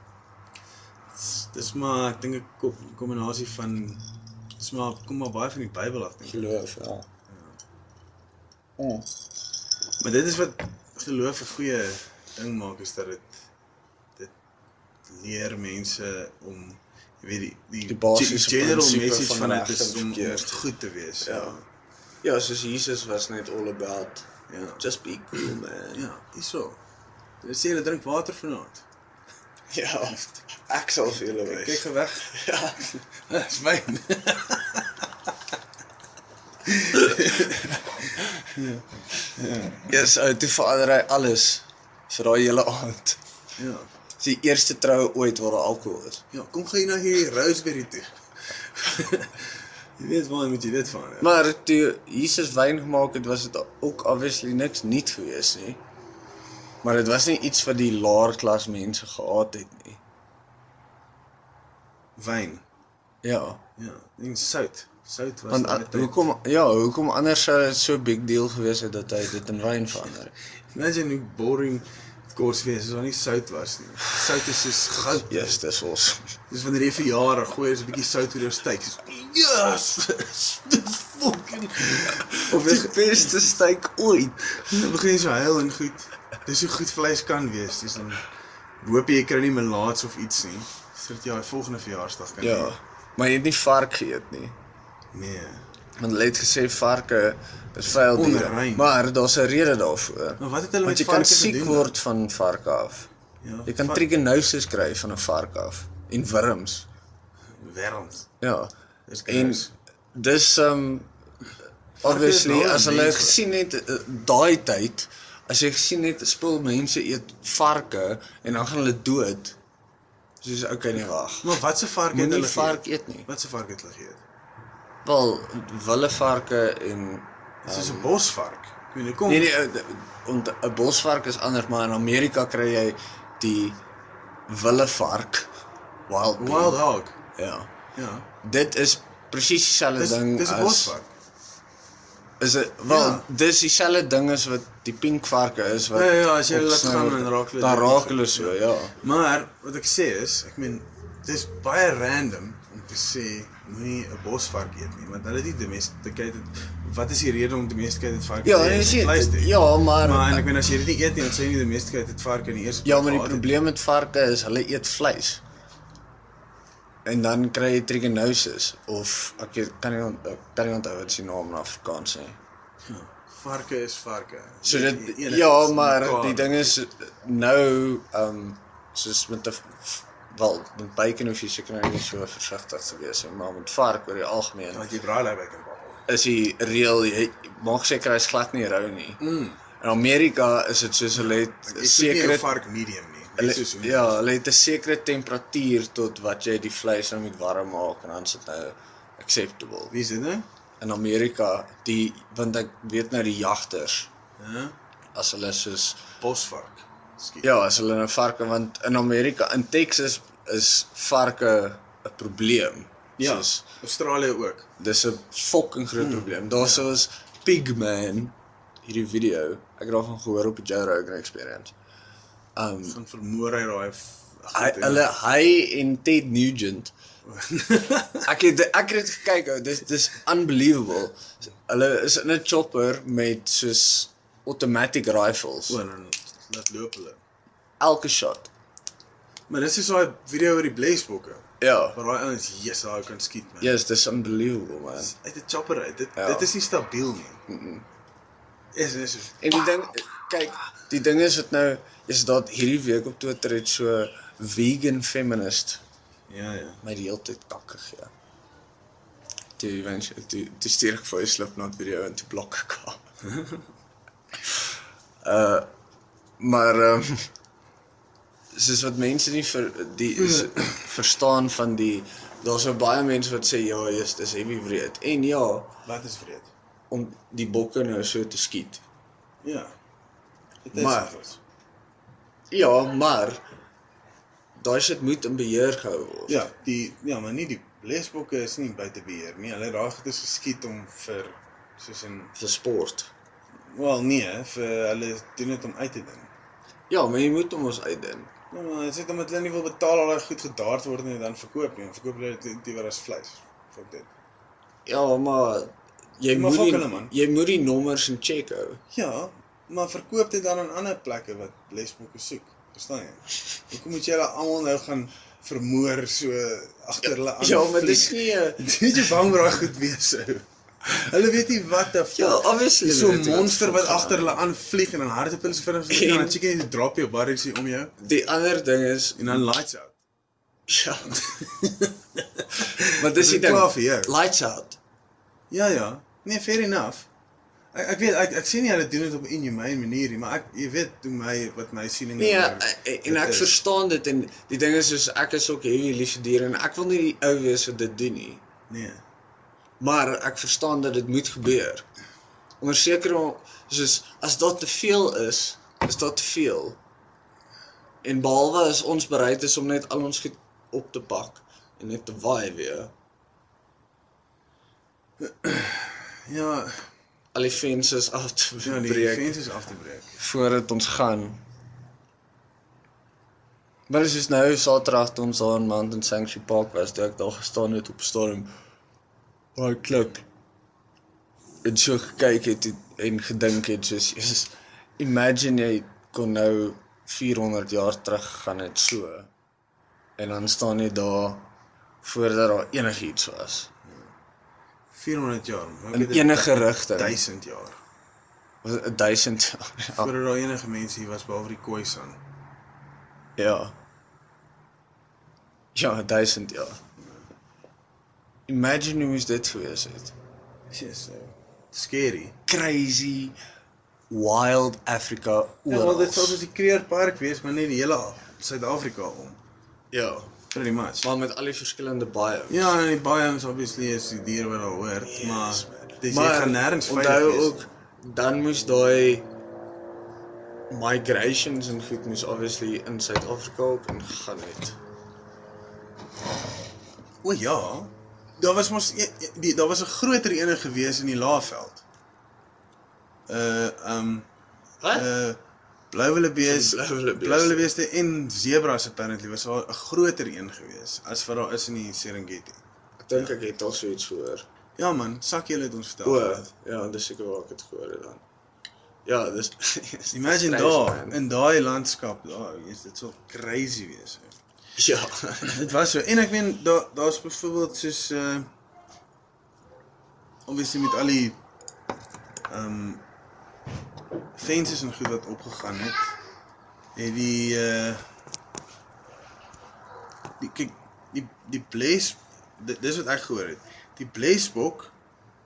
Dis maar ek dink 'n ko- kombinasie van dis maar kom maar baie van die Bybel af dink. ek.
Geloof, ja.
Maar dit is wat geloof 'n goeie ding maak is dat dit dit leer mense om jy weet die die,
Die basiese
ge- general
prinsipe
message
van
van dit
reg
is
en
om, om
verkeerd.
goed te wees.
Ja. Ja, soos Jesus was net all about
Ja.
just be cool man.
Ja, hyso. Dit sê hulle drink water vanaand.
Ja. Ek sal vir julle wys.
Kyk geweg.
Ja,
Dis my.
eers ou Ja, toe verander hy alles vir daai hele aand.
Ja.
Dis die eerste troue ooit waar daar alkohol is.
Ja, kom gaan jy na hierdie Roseberry toe. jy weet waar moet jy dit van hê?
Maar toe Jesus wyn gemaak het, was dit ook obviously niks nuut gewees nie. Maar dit was nie iets wat die laer klas mense gehaat het nie.
Wyn.
Ja,
Ja, en sout. Sout was
want
in
a-
die tyd.
hoekom ja, hoekom anders sou dit so big deal gewees het dat hy dit in wyn verander?
Imagine hoe boring het kos wees as daar nie sout was nie. Sout is soos goud.
Jesus, dis ons.
Dis wanneer jy vir jare gooi is 'n bietjie sout oor jou steak. Soos, Yes! Dis fucking
Of die beste steak ooit.
Dan begin jy so huil en goed. Dis hoe goed vleis kan wees. Dis dan hoop jy jy kry nie melaats of iets nie sodat jy haar volgende verjaarsdag kan
Ja, maar jy het nie vark geëet nie.
hê. Nee.
Want hulle het gesê varke is vuil diere,
Onrein.
maar daar's 'n rede daarvoor.
Maar wat het hulle
Want
met
jy kan
varke
siek
gedoen?
word van varke af.
Ja,
Jy kan
vark-
trichinosis kry van 'n vark af en wurms.
wêreld.
Ja.
Dis
En
gross.
dis um obviously
nou
as hulle
mense.
gesien het eh, daai tyd, as jy gesien het spul mense eet varke en dan gaan hulle dood. Soos okay nee wag.
Maar wat se vark het
Moenie
hulle
vark
geëet?
eet nie.
Wat se vark het hulle geëet?
Wel, wille varke en
Dit is 'n bosvark. Ek meen, kom
Ja. Nee nee, eh, d- ont- 'n bosvark is anders, maar in Amerika kry jy die wilde vark, wild bear.
Wild Hog.
Ja.
Ja.
Dit is presies dieselfde
Dis
ding
dis 'n
as
bosvark.
is dit wel
Ja.
dis dieselfde ding as wat die pinkvarke is wat
Ja, ja, as jy
op
hulle laat
sneeuw-
gaan, dan raak hulle
dan
dood.
raak hulle so, ja.
Maar wat ek sê is, ek meen dis baie random om te sê moenie 'n bosvark eet nie, want hulle is nie domesticated. Wat is die rede om domesticated varke
Ja,
te
en
eet?
jy sien
Vleis te eet.
ja, maar,
Maar en ek meen as jy dit nie eet nie, dan sê jy nie domesticated varke in die eerste
ja, maar die
gehad het.
probleem met varke is hulle eet vleis. En dan kry jy trichinosis of ek weet- kan nie ont- ek kan nie onthou wat se naam in Afrikaans is.
varke is varke.
So
Jy
dit
eet een
ja,
is
maar
mekaar.
die ding is nou ehm um, soos met 'n wel met bacon hoef jy seker nou nie so versigtig te wees nie, maar met vark oor die algemeen
want jy braai daai bacon babbel.
is die reël jy maak seker hy's glad nie rou nie.
Mm.
eh, nee. In Amerika is dit soos hulle het 'n
Jy seker 'n
sekere
vark medium nie. Net
hulle,
soos hoe-
ja, hulle het 'n sekere temperatuur tot wat jy die vleis nou moet warm maak en dan sit nou acceptable.
Wie is dit nou?
In Amerika die want ek weet nou die jagters
Hæ?
as hulle soos
Bosvark. Skiet.
Ja, as hulle nou varke want in Amerika, in Texas is varke 'n probleem.
Ja.
Soos,
Australië ook.
dis 'n fucking groot probleem. Daar's ja. soos Pigman hierdie video. Ek het daarvan gehoor op die Joe Rogan experience. Um
Van vermoor hy daai
hy
Ja.
hulle hy en Ted Nugent. ek het ek het dit gekyk, ou, dis dis unbelievable. Hulle is in 'n chopper met soos automatic rifles.
O, dan laat loop hulle.
Elke shot.
Maar dis is daai video oor die blesbokke.
Ja.
Waar daai ouens, yes, daai kan skiet man.
Yes, dis unbelievable man.
Uit 'n chopper uit. Dit
Ja.
dit is nie stabiel nie. Mhm. Is is
En die ding kyk, die ding is wat nou is dat hierdie week op Twitter het so vegan feminist
ja ja.
my die hele tyd kak gegee. Toe eventually toe, toe stuur ek vir hy Slipknot video en toe blok ek haar. uh maar ehm um, soos wat mense nie vir die is, verstaan van die daar's so baie mense wat sê ja, jy's dis heavy wreed. En ja,
Wat is vreed?
om die bokke nou so te skiet.
Ja. Dit is
Maar-
vreed.
Ja, maar daai shit moet in beheer gehou word.
Ja, die ja, maar nie die blesbokke is nie buite beheer nie. Hulle raak dit is geskiet om vir soos in
Vir sport.
wel nee, vir hulle doen dit om uit te ding.
Ja, maar jy moet hom ons uitdin.
Ja, maar dit is omdat hulle nie wil betaal al daai goed gedaard word nie en dan verkoop nie. Dan Verkoop hulle dit liewer as vleis. Fuck dit.
Ja, maar jy
Maar
moet
fuck
die,
hulle, man.
jy moet die nommers in check hou.
Ja, maar verkoop dit dan aan ander plekke wat lesboeke soek. Verstaan jy? Hoekom moet jy hulle almal nou gaan vermoor so agter hulle aan?
Ja, maar dis nie eh, 'n-
Dit jy bang raak goed wees ou. Hulle weet nie wat te
Ja, obviously.
So
weet
'n
jy wat
monster wat
gaan Ja.
agter hulle aanvlieg en dan hardop hulle so vinnig as hulle kan,
En-
dan chicken en drop jou barries hier om jou
aan. Die ander ding is
en dan lights out.
ja. maar dis die
Dis
ding.
klaar vir jou.
Lights out.
Ja ja. Nee, fair enough. Ek ek weet ek ek sien nie hulle doen dit op 'n inhumane manier nie, maar ek jy weet hoe my wat my siening
Nee,
daaroor
eh,
en- en ek
Ja, is.
verstaan dit en die ding is soos ek is ook heavy lief vir diere en ek wil nie die ou wees wat dit doen nie.
Nee.
Maar ek verstaan dat dit moet gebeur. Onder sekere er soos as daar te veel is, is daar te veel. En behalwe as ons bereid is om net al ons goed op te pak en net te waai weer,
Ja,
al die fences af te
Ja, die
breek
fence is af te breek.
voordat ons gaan. Maar dit is nou Saterdag toe ons daar in Mountain Sanctuary Park was, toe ek daar gestaan het op 'n stadium baie klik. En so gekyk het het- en gedink het soos Jesus, imagine jy kon nou 400 jaar terug gegaan het so. En dan staan jy daar voordat daar enigiets was.
400 jaar. maar
In
ek weet
enige rigting.
1000 jaar.
Was het 1000 jaar. Ja.
Voordat daar enige mense hier was behalwe die Khoisan.
Ja. Ja, duisend jaar. Imagine hoe moes dit gewees het.
Dis so eh, scary.
Crazy wild Africa
Ja,
oral.
want dit sou soos die Kreerpark wees, maar net die hele Suid-Afrika om.
Ja,
Pretty much.
maar met al die verskillende biomes.
Ja, en die baie ons obviously is die diere wat daar hoort, yes, maar dis jy gaan nêrens veilig
onthou
wees.
ook dan moes daai migrations en goed moes obviously in Suid-Afrika ook ingegaan het.
O ja, daar was mos e- e- die daar was 'n groter ene gewees in die Laagveld. Uh um
Wat?
uh Blouwillebees,
Blou Wildebeeste.
Blouwillebeeste en zebras apparently was daar 'n groter een gewees as wat daar is in die Serengeti.
Ek dink ek het al so iets gehoor.
Ja man, sak julle het ons vertel.
O, ja, dis seker waar ek dit gehoor het dan. Ja, dis
Imagine
Crazy,
daar
man.
in daai landskap, daar, jy's dit sou crazy wees. Hè.
Ja.
Dit was so. En ek meen daar daar's byvoorbeeld soos uh obviously met al die ehm um, fences en goed wat opgegaan het, het die uh die kyk die die bles di- dis wat ek gehoor het. Die blesbok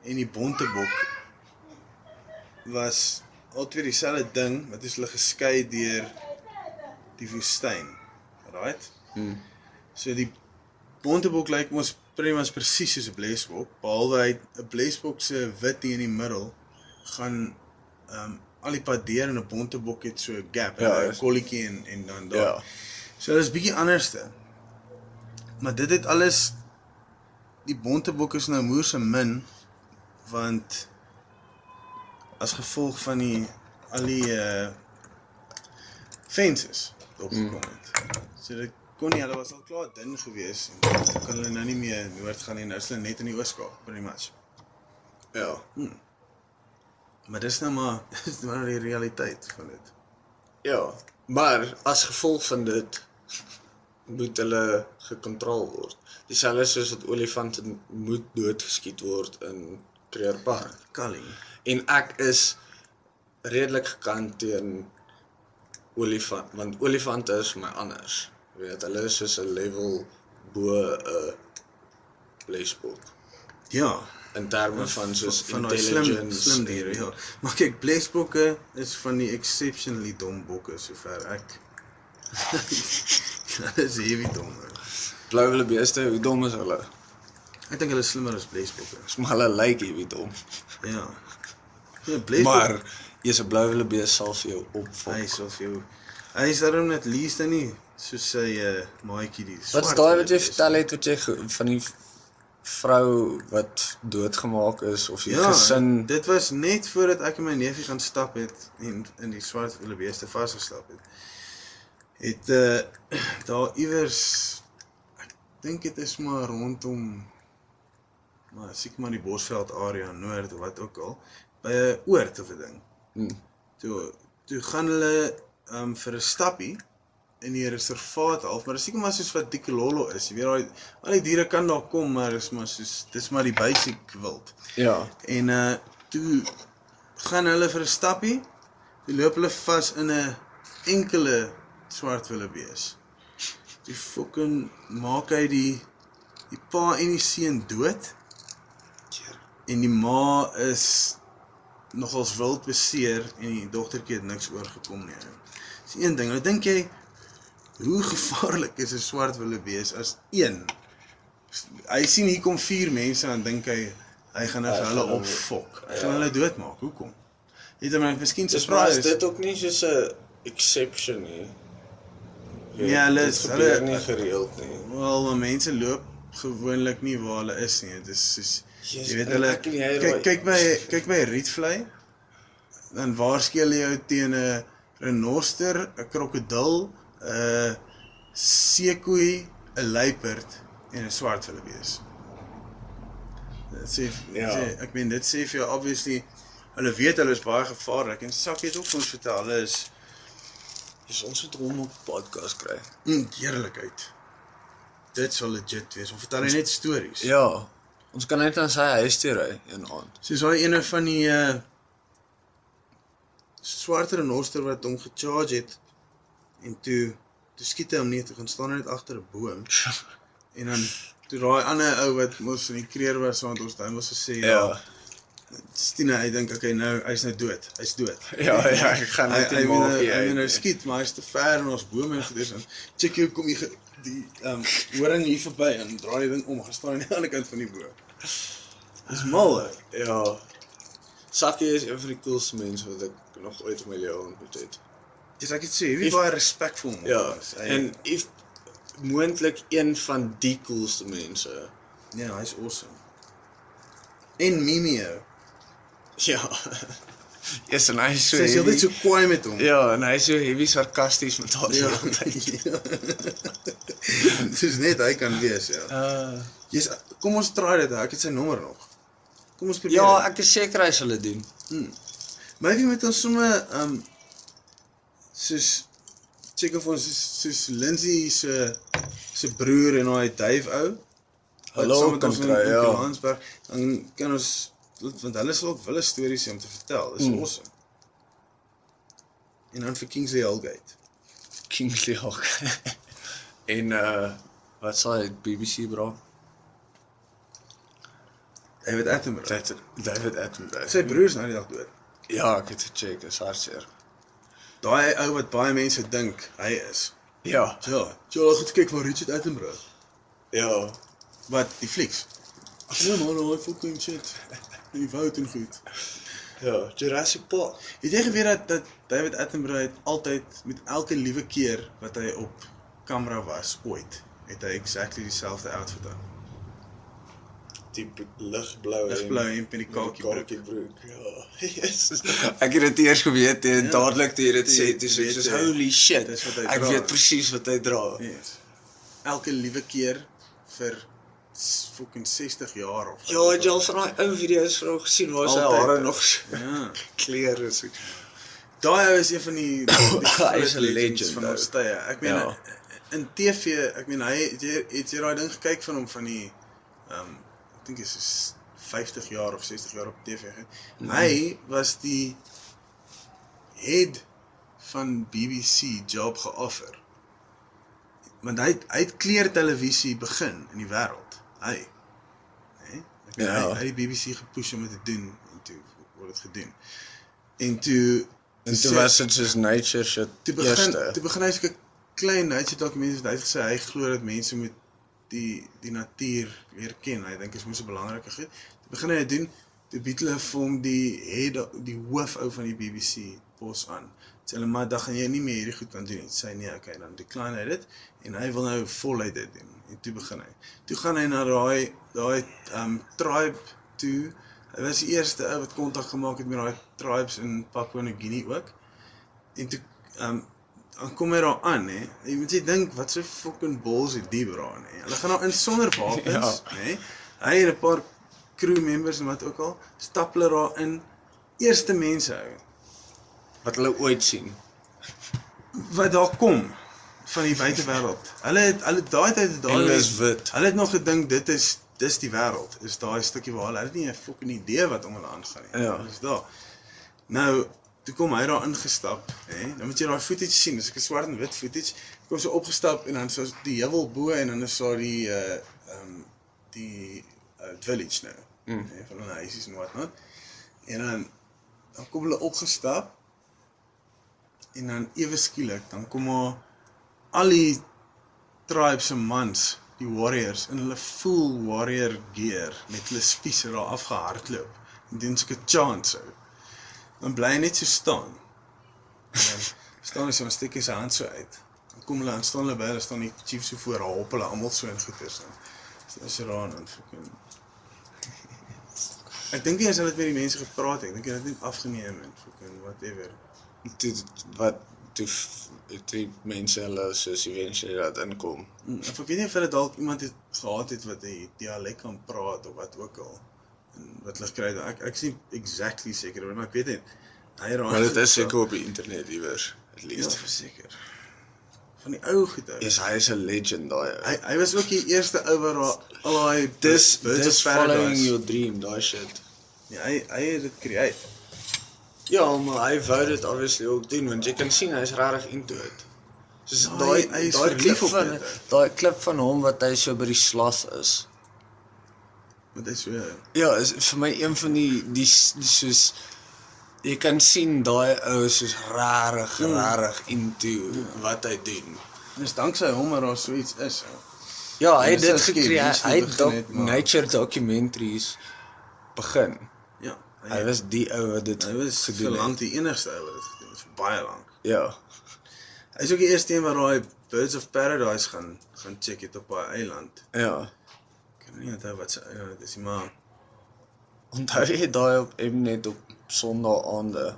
en die bontebok was altyd dieselfde ding, wat is hulle geskei deur die woestyn. Right?
Hmm.
So die bontebok lyk ons primas presies soos 'n blesbok, behalwe hy 'n blesbok se wit hier in die middel gaan ehm um, al die pad deur en 'n bontebok het so 'n gap,
Ja,
ja, 'n
is-
kolletjie en en dan daar.
Ja.
Ja. So dit is bietjie anderste. Maar dit het alles die bontebok is nou moerse min want as gevolg van die al die uh fences wat opgekom het. So dit kon nie hulle was al klaar dun gewees en dan kan hulle nou nie meer noord gaan nie, nou is hulle net in die Oos-Kaap pretty much.
Ja.
Maar dis nou maar dis nou maar die realiteit van dit.
Ja, maar as gevolg van dit moet hulle gekontrol word. Dieselfde soos wat olifante moet doodgeskiet word in Kruger Park.
Culling.
En ek is redelik gekant teen olifant want olifante is vir my anders. Jy weet, hulle is soos 'n level bo 'n leesbok
Ja,
in terme van soos
van daai slim
intelligence
slim diere, ja. Maar kyk, blesbokke is van die exceptionally dom bokke sover ek. Hulle is heavy dom. hoor.
Blou wilde beeste, hoe dom is hulle?
Ek dink hulle is slimmer as blesbokke.
Dis maar hulle lyk like, wie dom.
Ja. Ja, blesbok
Maar jy's 'n blou wildebees sal vir jou opvolg.
Hy is of jou hy is daarom net least dan nie soos sy uh, maatjie die
Wat is
swart
daai wat jy
is.
vertel het wat jy ge- van die vrou wat doodgemaak is of die
Ja,
gesin
dit was net voordat ek en my neefie gaan stap het en in die swart wildebeeste vasgestap het. Het uh daar iewers ek dink dit is maar rondom maar seker maar die Bosveld area noord of wat ook al by 'n oord of 'n ding.
Hmm.
Toe toe gaan hulle um vir 'n stappie in die reservaat half, maar dis seker maar soos wat Dikololo is. Jy weet daai al die diere kan daar kom, maar dis maar soos dis maar die basic wild.
ja
En uh toe gaan hulle vir 'n stappie. Toe loop hulle vas in 'n enkele swart wildebees. Die fucking maak hy die die pa en die seun dood. En die ma is nogals wild beseer en die dogtertjie het niks oorgekom nie. Dis een ding. Nou dink jy hoe gevaarlik is 'n swart wildebees as een hy sien hier kom vier mense en dink hy hy gaan nou vir hulle
gaan hulle- Ja.
opfok. Hy gaan hulle doodmaak. Hoekom? Het hom miskien
dis maar is
surprise.
dit ook nie soos 'n exception nie
Nee, hulle
Dit
is-
gebeur
hulle-
nie gereeld nie
Wel, maar mense loop gewoonlik nie waar hulle is nie. Dit is soos
Jesus,
jy weet
en
hulle
ek en jy
kyk
raai-
kyk by kyk by 'n rietvlei dan waarsku hulle jou teen 'n renoster, 'n krokodil, 'n seekoei, 'n luiperd en 'n swart wildebees. Dit sê,
Ja.
ja. sê ek meen dit sê vir jou obviously hulle weet hulle is baie gevaarlik en Sak het ook vir ons vertel hulle is
Dis ons moet hom op podcast kry
in eerlikheid. Dit sal legit wees. Ons vertel hy net stories.
ja ons kan net aan sy huis toe ry een aand
Soos daai ene van die uh swart renoster wat hom gecharge het en toe toe skiet hy hom nie, toe gaan staan hy net agter 'n boom. en dan toe daai ander ou wat mos in die kreer was want ons duim was gesê
ja
Stine, hy dink okay nou hy's nou dood. Hy's dood.
ja ja ek gaan
Hy
net
hy
nie
wil
maak
nou-
nie
hy wil nou
uit.
skiet, maar hy's te ver en ons bome en goeders en check hoe kom jy ge- die ehm um, horing hier verby en draai die ding om, gaan staan aan die ander kant van die boom. Dis mal. hè?
ja
Sakkie is een van die coolste mense wat ek nog ooit in my lewe ontmoet het.
Dis ek het sê, wie baie respekvol man.
Ja,
is. Hy-
en if moontlik een van die coolste mense.
ja, hy's awesome. En Mimio.
Ja. Yes, en hy is so
Sy's heeltyd so kwaai met hom.
Ja, en hy is so heavy sarkasties met haar.
Ja. Dis net hy kan wees, ja.
Uh,
Jy's kom ons try dit. Ek het sy nommer nog. Kom ons probeer.
Ja,
dit.
ek is seker hy sal dit doen.
maybe met ons sommer ehm um, soos check of ons soos, soos Lindsay se se broer en daai Dave ou. wat
Hallo
saam met
kan
ons in-
kry,
in
ja.
Johannesburg, dan kan ons want hulle sal ook wille stories hê om te vertel. Dis
Hmm.
mm. awesome. En dan vir Kingsley Hallgate.
Kingsley Hawk. en uh wat sal hy BBC bra?
David Attenborough.
David David Attenborough.
Sy broer's nou die dag dood.
Ja, ek het gecheck, is hartseer.
Daai ou wat baie mense dink hy is.
Ja,
Ja, jy het goed kyk van Richard Attenborough.
ja.
Wat die flieks. Nee man, hy fucking shit. Die fout en goed.
Ja, Jurassic Park.
Het jy geweet dat dat David Attenborough het altyd met elke liewe keer wat hy op kamera was ooit, het hy exactly dieselfde outfit aan.
Die b- ligblou
Ligblou hemp en die kakie broek.
kakie broek. Ja. Jesus. Ek het dit eers geweet en ja, dadelik toe jy dit sê, toe sê ek soos
weet jy,
holy shit.
dis wat hy
Ek
dra."
weet presies wat hy dra.
Yes. Nee. Elke liewe keer vir s- fucking 60 jaar of
Ja, het jy al van daai ou video's van hom gesien waar sy
Altyd.
hare nog so
Ja.
kleur is.
Daai ou is een van die, die
Hy is 'n
groot legends
legend,
van
ou.
ons tye. Ek meen
Ja.
in TV, ek meen hy het jy het jy daai ding gekyk van hom van die ehm um, ek dink is is 50 jaar of 60 jaar op TV. ge-
Nee.
Hy was die head van BBC job geoffer. Want hy het- hy het kleurtelevisie begin in die wêreld. Hy hè?
Ja.
Ja. Hy, hy het die BBC gepush om dit te doen en toe word dit gedoen. En toe
En toe
sê-
was dit soos nature shit.
Toe begin toe begin hy seker klein hy het dokumente wat hy het gesê hy glo dat mense moet die die natuur leer ken. Hy dink dit is mos 'n belangrike goed. Toe begin hy dit doen. Toe bied hulle vir hom die head die hoofou van die BBC pos aan. Sê hulle maar dan gaan jy nie meer hierdie goed kan doen nie. Sê hy, nee, okay, dan decline hy dit en hy wil nou voluit dit doen. En toe begin hy. Toe gaan hy na daai daai um tribe toe. Hy was die eerste ou wat kontak gemaak het met daai tribes in Papua New Guinea ook. En toe ehm um, dan kom hy daar aan hè. Jy moet jy dink wat so fucking bols het die bra hè. Hulle gaan daar in sonder wapens, ja. hè. Hy het 'n paar crew members en wat ook al, stap hulle daar in eerste mense hou
wat hulle ooit sien.
wat daar kom van die buitewêreld. Hulle het hulle daai tyd het daai
Hulle is
mense-
wit.
Hulle het nog gedink dit is dis die wêreld. Is daai stukkie waar hulle hulle het nie 'n fucking idee wat om hulle aangaan nie.
Ja.
Dis daar. Nou, toe kom hy daar ingestap, hè. Dan moet jy daai footage sien. Dis 'n swart en wit footage. Kom so opgestap en dan so die heuwel bo en dan is daar die uh ehm um, die uh, village nou. Mm. Hè, van hulle huisies en wat nou. En dan dan kom hulle opgestap en dan ewe skielik dan kom haar al die tribes se mans, die warriors in hulle full warrior gear met hulle spiese daar afgehardloop en doen sulke chants ou. Dan bly hy net so staan. En Dan staan hy so 'n stukkie sy hand so uit. Dan kom hulle aan staan hulle by, hulle staan die chief so voor, haar hop hulle almal so in goeters in. So is hulle daar en dan fucking Ek dink nie as hulle het met die mense gepraat het, ek dink hulle het net afgeneem en fucking whatever.
Toe wat toe f- toe die mense hulle soos eventually laat inkom.
Mm, Of ek weet nie of hulle dalk iemand het gehad het wat 'n dialek kan praat of wat ook al. En wat hulle gekry het. Ek ek is nie exactly seker oor, maar ek weet net hy raai.
Maar dit is seker op die internet iewers, at
is
least.
verseker. Van die ou goed ou.
Yes, hy is 'n legend daai. ou.
Hy hy was ook die eerste ou wat daar al daai
Dis
Birds of
dis
Paradise-
following your dream, daai shit.
Ja, hy hy het dit create.
Ja, maar hy wou dit obviously ook doen want jy kan sien hy's regtig into it. Soos
Ja,
daai
hy- hy is
daai
verlief
klip
op
van
dit, ou.
Daai klip van hom wat hy so by die slas is.
Want hy's so
Ja, is vir my een van die die s- die soos jy kan sien daai ou soos rarig,
Hmm.
rarig into wat hy doen.
dis danksy hom dat daar so iets is. ou.
Ja, hy het
dis
dit
ook die
gekry.
reason
Hy het
begin
doc
het, maar-
nature documentaries begin.
Ja, hy
Hy was die ou wat dit
Hy was
gedoen
vir
het.
lank die enigste ou wat dit gedoen het, vir baie lank.
Ja.
Hy is ook die eerste een wat daai Birds of Paradise gaan gaan check het op daai eiland.
Ja.
Ek kan nie onthou wat ja, sy eiland is nie, maar
Onthou jy daai op Mnet op Sondag aande?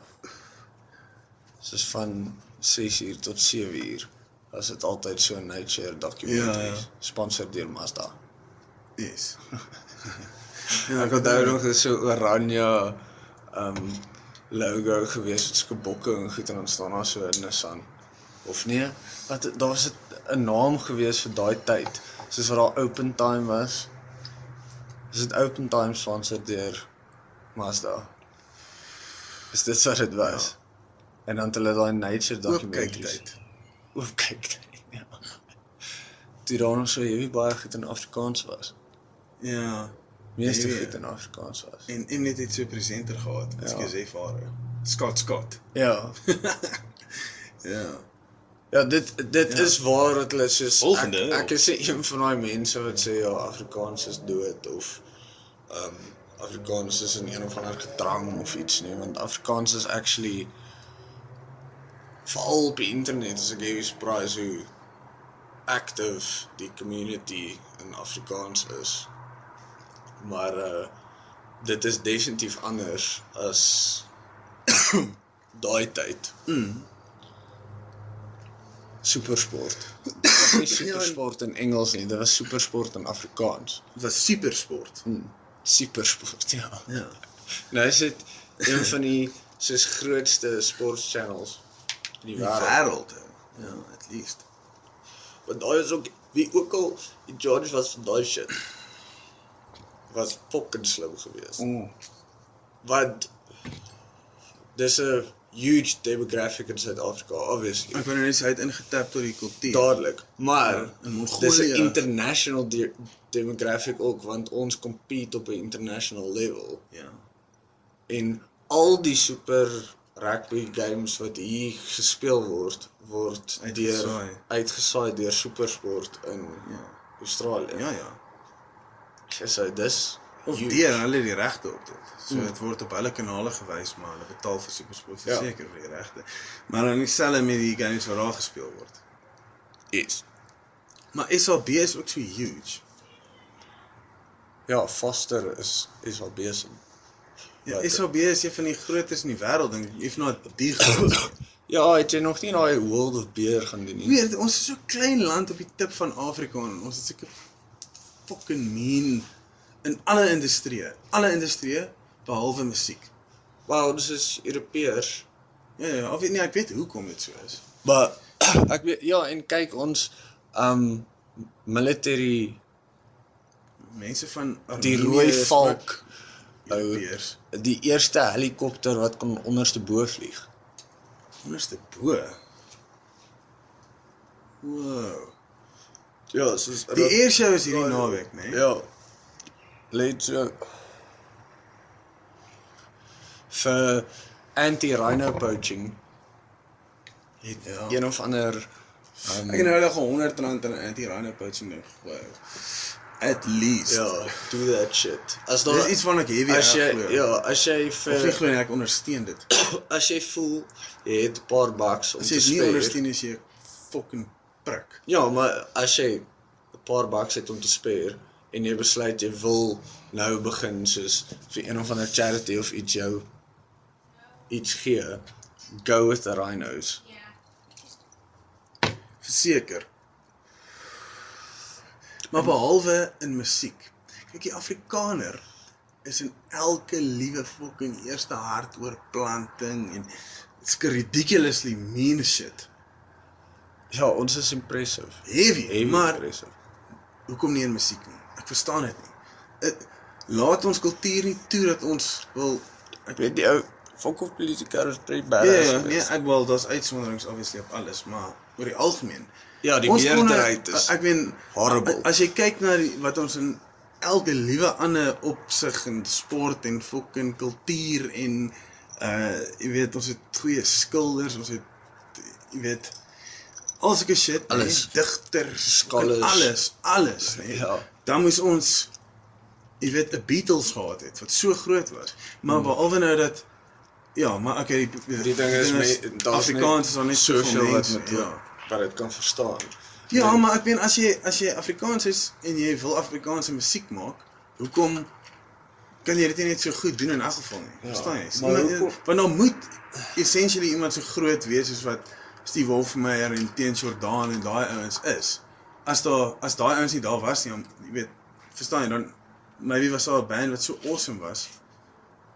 Soos van 6uur tot 7uur. Was dit altyd so nature
Ja,
documentaries,
ja.
ja. sponsor deur Mazda.
yes.
Ja, ek onthou nog dis so oranje ehm um, logo gewees met sulke bokke en goed en dan staan daar so 'n Nissan. Of nee, wat daar was dit 'n naam gewees vir daai tyd, soos wat daar open time was. Is dit open time sponsor deur Mazda? Is dit wat dit was? Ja. En dan het hulle daai nature
Ook
documentaries.
kyk tyd.
Oop kyk tyd. Ja. Toe daar nog so hierdie baie goed in Afrikaans was.
Ja,
Meeste
Ja, ja.
goed in Afrikaans was.
en en net het so presenter gehad. Ekskuus ja. ervare. Scott Scott.
Ja.
Ja.
Ja, dit dit ja. is waar dat hulle soos
Volgende,
ek,
of-
ek is een van daai mense wat sê ja, Afrikaans is dood of ehm um, Afrikaans is in een of ander gedrang of iets nie, want Afrikaans is actually veral op die internet is ek baie surprised hoe active die community in Afrikaans is. Maar uh dit is definitief anders as daai tyd. Supersport. Dit was nie supersport in Engels nie, dit was supersport in Afrikaans.
Dit was supersport.
Supersport, ja.
Ja.
Nou is dit een van die soos grootste sportchannels in die
Die
wêreld.
wêreld. hè. Ja, at least.
Want daai is ook wie ook al die George was van daai shit. Was fucking slim geweest.
Mm.
Want dis 'n huge demographic in Suid-Afrika, obviously.
Ek wou nou net sê hy het ingetap tot die kultuur.
dadelik. Maar
in Mongolië-
dis 'n international de demographic ook want ons compete op 'n international level
Ja.
en al die super rugby games wat hier gespeel word word deur
Uitgesaai.
uitgesaai deur SuperSport in
Ja.
Australië.
Ja ja.
So dis
Of
huge.
deur hulle die regte op dit. So dit word op hulle kanale gewys, maar hulle betaal vir SuperSport
Ja.
verseker vir die regte. Maar dan dieselfde met die games wat daar gespeel word.
is.
Maar SAB is ook so huge.
Ja, Foster is is al besig.
Ja,
Wat-
SAB is een van die grootes in die wêreld en if not nou die grootste.
Ja, het jy nog nie daai World of Beer gaan doen nie.
Weet, ons is so 'n klein land op die tip van Afrika en ons het seker fucking mean in alle industrieë, alle industrieë behalwe musiek.
Wow, dis is Europeërs.
Ja, ja, of nee, ek weet hoekom dit so is.
Maar ek weet ja en kyk ons um military
Mense van
die
Armenië
rooi
is ook
valk ou
Europeërs.
die eerste helikopter wat kon onderste bo vlieg.
Onderste bo. Wow.
Ja, soos
Die eershow is hierdie naweek, né?
Ja. Let so vir anti-rhino poaching
Het- ja.
een of ander um,
Ek het nou nog 100 rand aan anti-rhino poaching nou gegooi. At least.
ja, do that shit. As daar
Dis iets van ek heavy
as jy
glo.
ja, as jy
Of nie
vir
glo nie, ek ondersteun dit.
as jy voel jy het 'n paar bucks om
As
te
jy dit nie
spare.
ondersteun as jy 'n fucking prik.
Ja, maar as jy 'n paar bucks het om te spaar en jy besluit jy wil nou begin soos vir een of ander charity of iets jou iets gee, go with the rhinos.
Verseker. Maar behalwe in musiek. Kyk, die Afrikaner is in elke liewe fucking eerste hart oor planting en it's ridiculously mean shit.
Ja, ons is impressive.
Heavy,
Heavy
maar
impressive.
hoekom nie in musiek nie? Ek verstaan dit nie. It, laat ons kultuur nie toe dat ons wil
Ek weet die ou Fokhof politiker is pretty bad.
Ja, ja, nee, ek wel, daar's uitsonderings obviously op alles, maar oor die algemeen.
ja, die
Ons kon- nou-
meerderheid is
ek meen
horrible.
As jy kyk na die, wat ons in elke liewe ander opsig in sport en fucking kultuur en uh jy weet ons het goeie skilders, ons het jy weet al sulke shit, nee,
Alles.
digters,
Scholars.
alles, alles, nee.
Ja.
Dan moes ons jy weet 'n Beatles gehad het wat so groot was. Maar behalwe nou dat ja, maar okay, die,
Die ding is me- daar's
Afrikaans
net
is dan net
soveel
soveel
wat
mense.
moet
Ja.
wat dit kan verstaan.
Ja,
Nee.
maar ek meen as jy as jy Afrikaans is en jy wil Afrikaanse musiek maak, hoekom kan jy dit nie net so goed doen in elk geval nie? Verstaan jy?
Ja, maar
Maar, eh,
hoekom-
want dan moet essentially iemand so groot wees soos wat Steve Wolfmeyer en Teens Jordan en daai ouens is. As daar as daai ouens nie daar was nie, om jy weet, verstaan jy dan maybe was daar 'n band wat so awesome was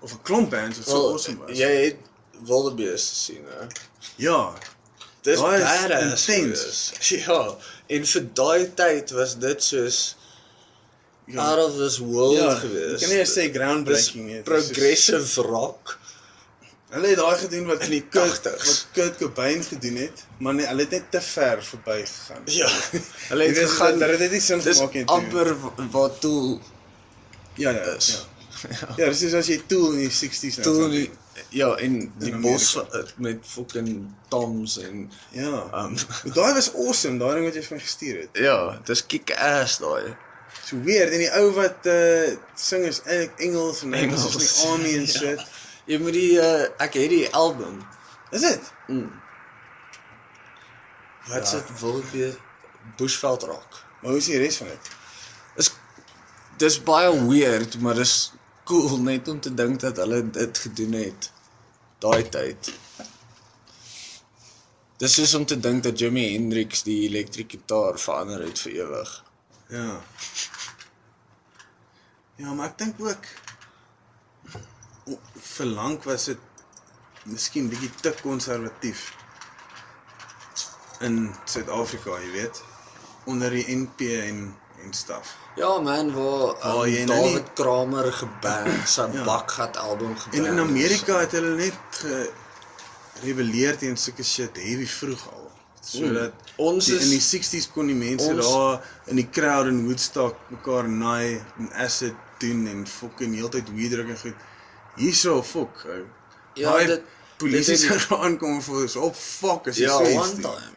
of 'n klomp bands wat so well, awesome was.
jy het wildebeeste gesien, hè.
Ja,
Dis
Daai is
badass.
intens.
gewees. Ja, en vir daai tyd was dit soos
Ja.
out of this world
ja,
gewees.
Kan jy sê groundbreaking nie?
Dis
dit is soos-
progressive rock.
Hulle het daai gedoen wat in die Kurt,
80s.
wat Kurt Cobain gedoen het, maar nee, hulle het net te ver verby gegaan.
Ja.
Hulle het gegaan, hulle het net nie sin
Dis
gemaak nie.
amper wa- wat toe
ja, ja,
is.
ja. Ja, dis soos as jy Tool in die 60s nou
toe
gaan
die,
doen.
ja en die
In
bos
Amerika.
wa- met fucking toms en
Ja.
um
Maar Daai was awesome, daai ding wat jy vir my gestuur het.
ja, dis kick ass daai.
So weird en die ou wat uh sing is eintlik Engels en hy was soos
Engels.
in die
Ja.
army en shit.
Jy moet die uh, ek het die album.
Is dit?
Wat se ja. wilde Bushveld rock.
Maar hoe is die res van dit?
Dis baie weird, maar dis cool net om te dink dat hulle dit gedoen het daai tyd. Dis soos om te dink dat Jimi Hendrix die elektriese gitaar verander het vir ewig.
Ja. Ja, maar ek dink ook o- vir lank was dit miskien bietjie te konservatief in Suid-Afrika, jy weet, onder die NP en en staf.
Ja man, waar um,
Waar jy
David
nou nie-
Kramer geband, sy
Ja.
bakgat album geband.
En in
is.
Amerika het hulle net ge rebelleer teen sulke shit heavy vroeg al. Sodat
Hmm. ons
die,
is
in die 60s kon die mense
ons-
daar in die crowd in Woodstock mekaar naai en acid doen en fucking heeltyd weed druk en goed. Hierso fuck. Ou.
Ja,
Daai
dit-
polisie
dit
se aankom vir ons op "Oh, fuck as jy
ja,
so iets
one
doen.
time.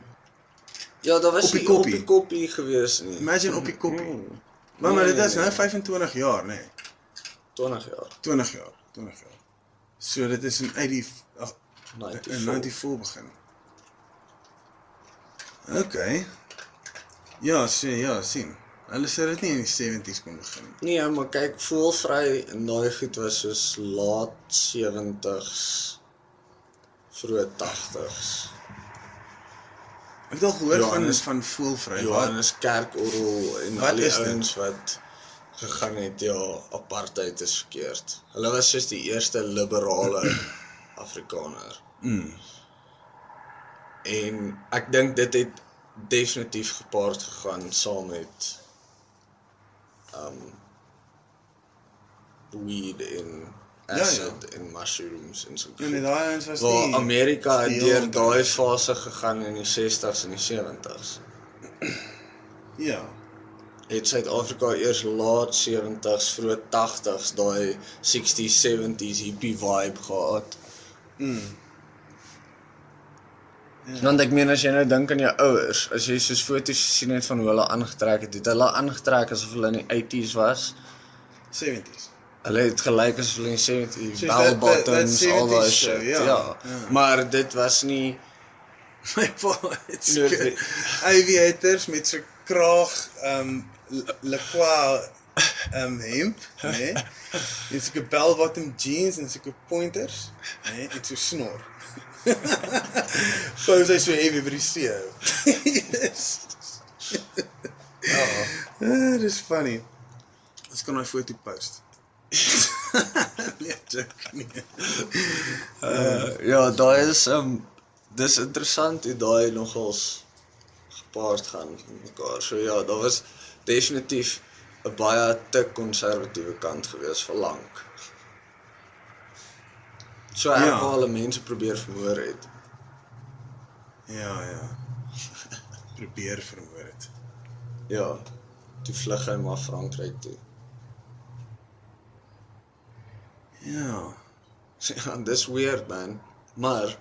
Ja, daar was
Op die
nie op
koppie.
die koppie gewees nie.
Imagine op die koppie.
Mm.
Maar maar
Nee,
dit is
nee,
nou 25 jaar, nê. Nee.
20 jaar.
20 jaar, 20 jaar. So dit is in 80 ag, in
94.
94 begin. OK. Ja, sien, ja, sien. Hulle sê dit nie in die 70s kon begin nie.
Nee, maar kyk, voelvry en daai goed was soos laat 70s vroeg 80s.
Ek het al gehoor
Johannes-
van van voelvry. wat-
Johannes Kerkorrel en
Wat
al die
is dit?
ouens wat gegaan het ja, apartheid is verkeerd. Hulle was soos die eerste liberale Afrikaner. Mm. En ek dink dit het definitief gepaard gegaan saam met um weed en
ja.
acid ja, ja. en mushrooms en so.
Ja, nee, daai ouens was
Waar
nie.
Amerika het
die
deur
heel-
daai fase gegaan in die 60s en die 70s.
ja.
Het Suid-Afrika eers laat 70s, vroeg 80s daai 60s, 70s hippie vibe gehad. Mm. Ja. Want ek meen as jy nou dink aan jou ouers, as jy soos foto's gesien het van hoe hulle aangetrek het, het hulle aangetrek asof hulle in die 80s was.
70s.
Hulle het gelyk as hulle in 70s
Soos
bell
dat- dat- dat
bottoms al daai
70s
shit.
show, ja.
Ja. ja. Maar dit was nie
My pa het
Noord-
sulke aviators met so kraag ehm um, lequa ehm um, hemp, né? Nee? En sulke bell bottom jeans en sulke pointers, né? Nee? En so snor. Pose hy so heavy by die see. ou. yes. Ja. Uh, dis funny. Ons kan 'n foto post. nee, joke nie.
Ja, daai is um dis interessant hoe daai nogals gepaard gaan met mekaar. So ja, daar was definitief 'n baie te konservatiewe kant gewees vir lank. So ek
Ja.
ja. al mense probeer vermoor het.
Ja, ja. Probeer verhoor dit.
Ja. Toe vlug hy maar Frankryk toe.
Ja.
So, ja, dis weird man. Maar ehm,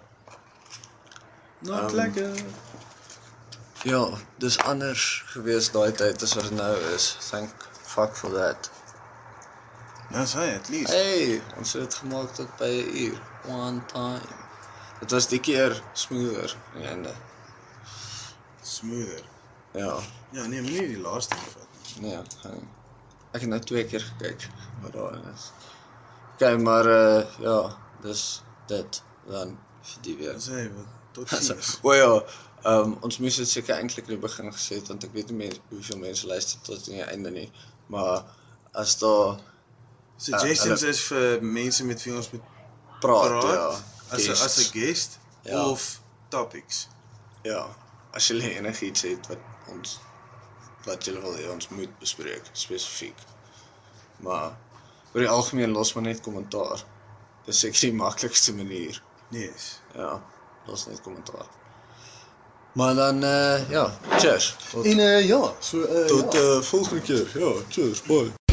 Not um, lekker.
ja, dis anders gewees daai tyd as wat dit nou is. Thank fuck for that.
Dis hy at least.
Hey, ons het dit gemaak tot by 'n uur. One time. Dit was die keer smoeder aan die einde.
Smoother.
Ja,
Ja, nee, moenie die laaste een vat nie.
nee. gaan- Ek het nou twee keer gekyk wat daarin is. OK, maar uh ja, dis dit dan vir die weer.
Dis hy wat tot sins.
O ja, ehm ons moes dit seker eintlik in die begin gesê het want ek weet nie mense hoeveel mense luister tot aan die einde nie, maar as daar Ah,
Suggestions is vir mense eh, met wie ons moet
praat,
praat
Oh, ja,
as 'n as
guests,
'n guest
Ja.
of topics.
ja, as jy enigiets het wat ons wat jy wil hê ons moet bespreek spesifiek. Maar oor die algemeen los maar net kommentaar. Dis seker die maklikste manier.
Yes.
Ja, los net kommentaar. Maar dan eh uh, ja, cheers. Tot,
En uh, ja, so uh,
tot eh uh, volgende keer. Ja, cheers. Bye.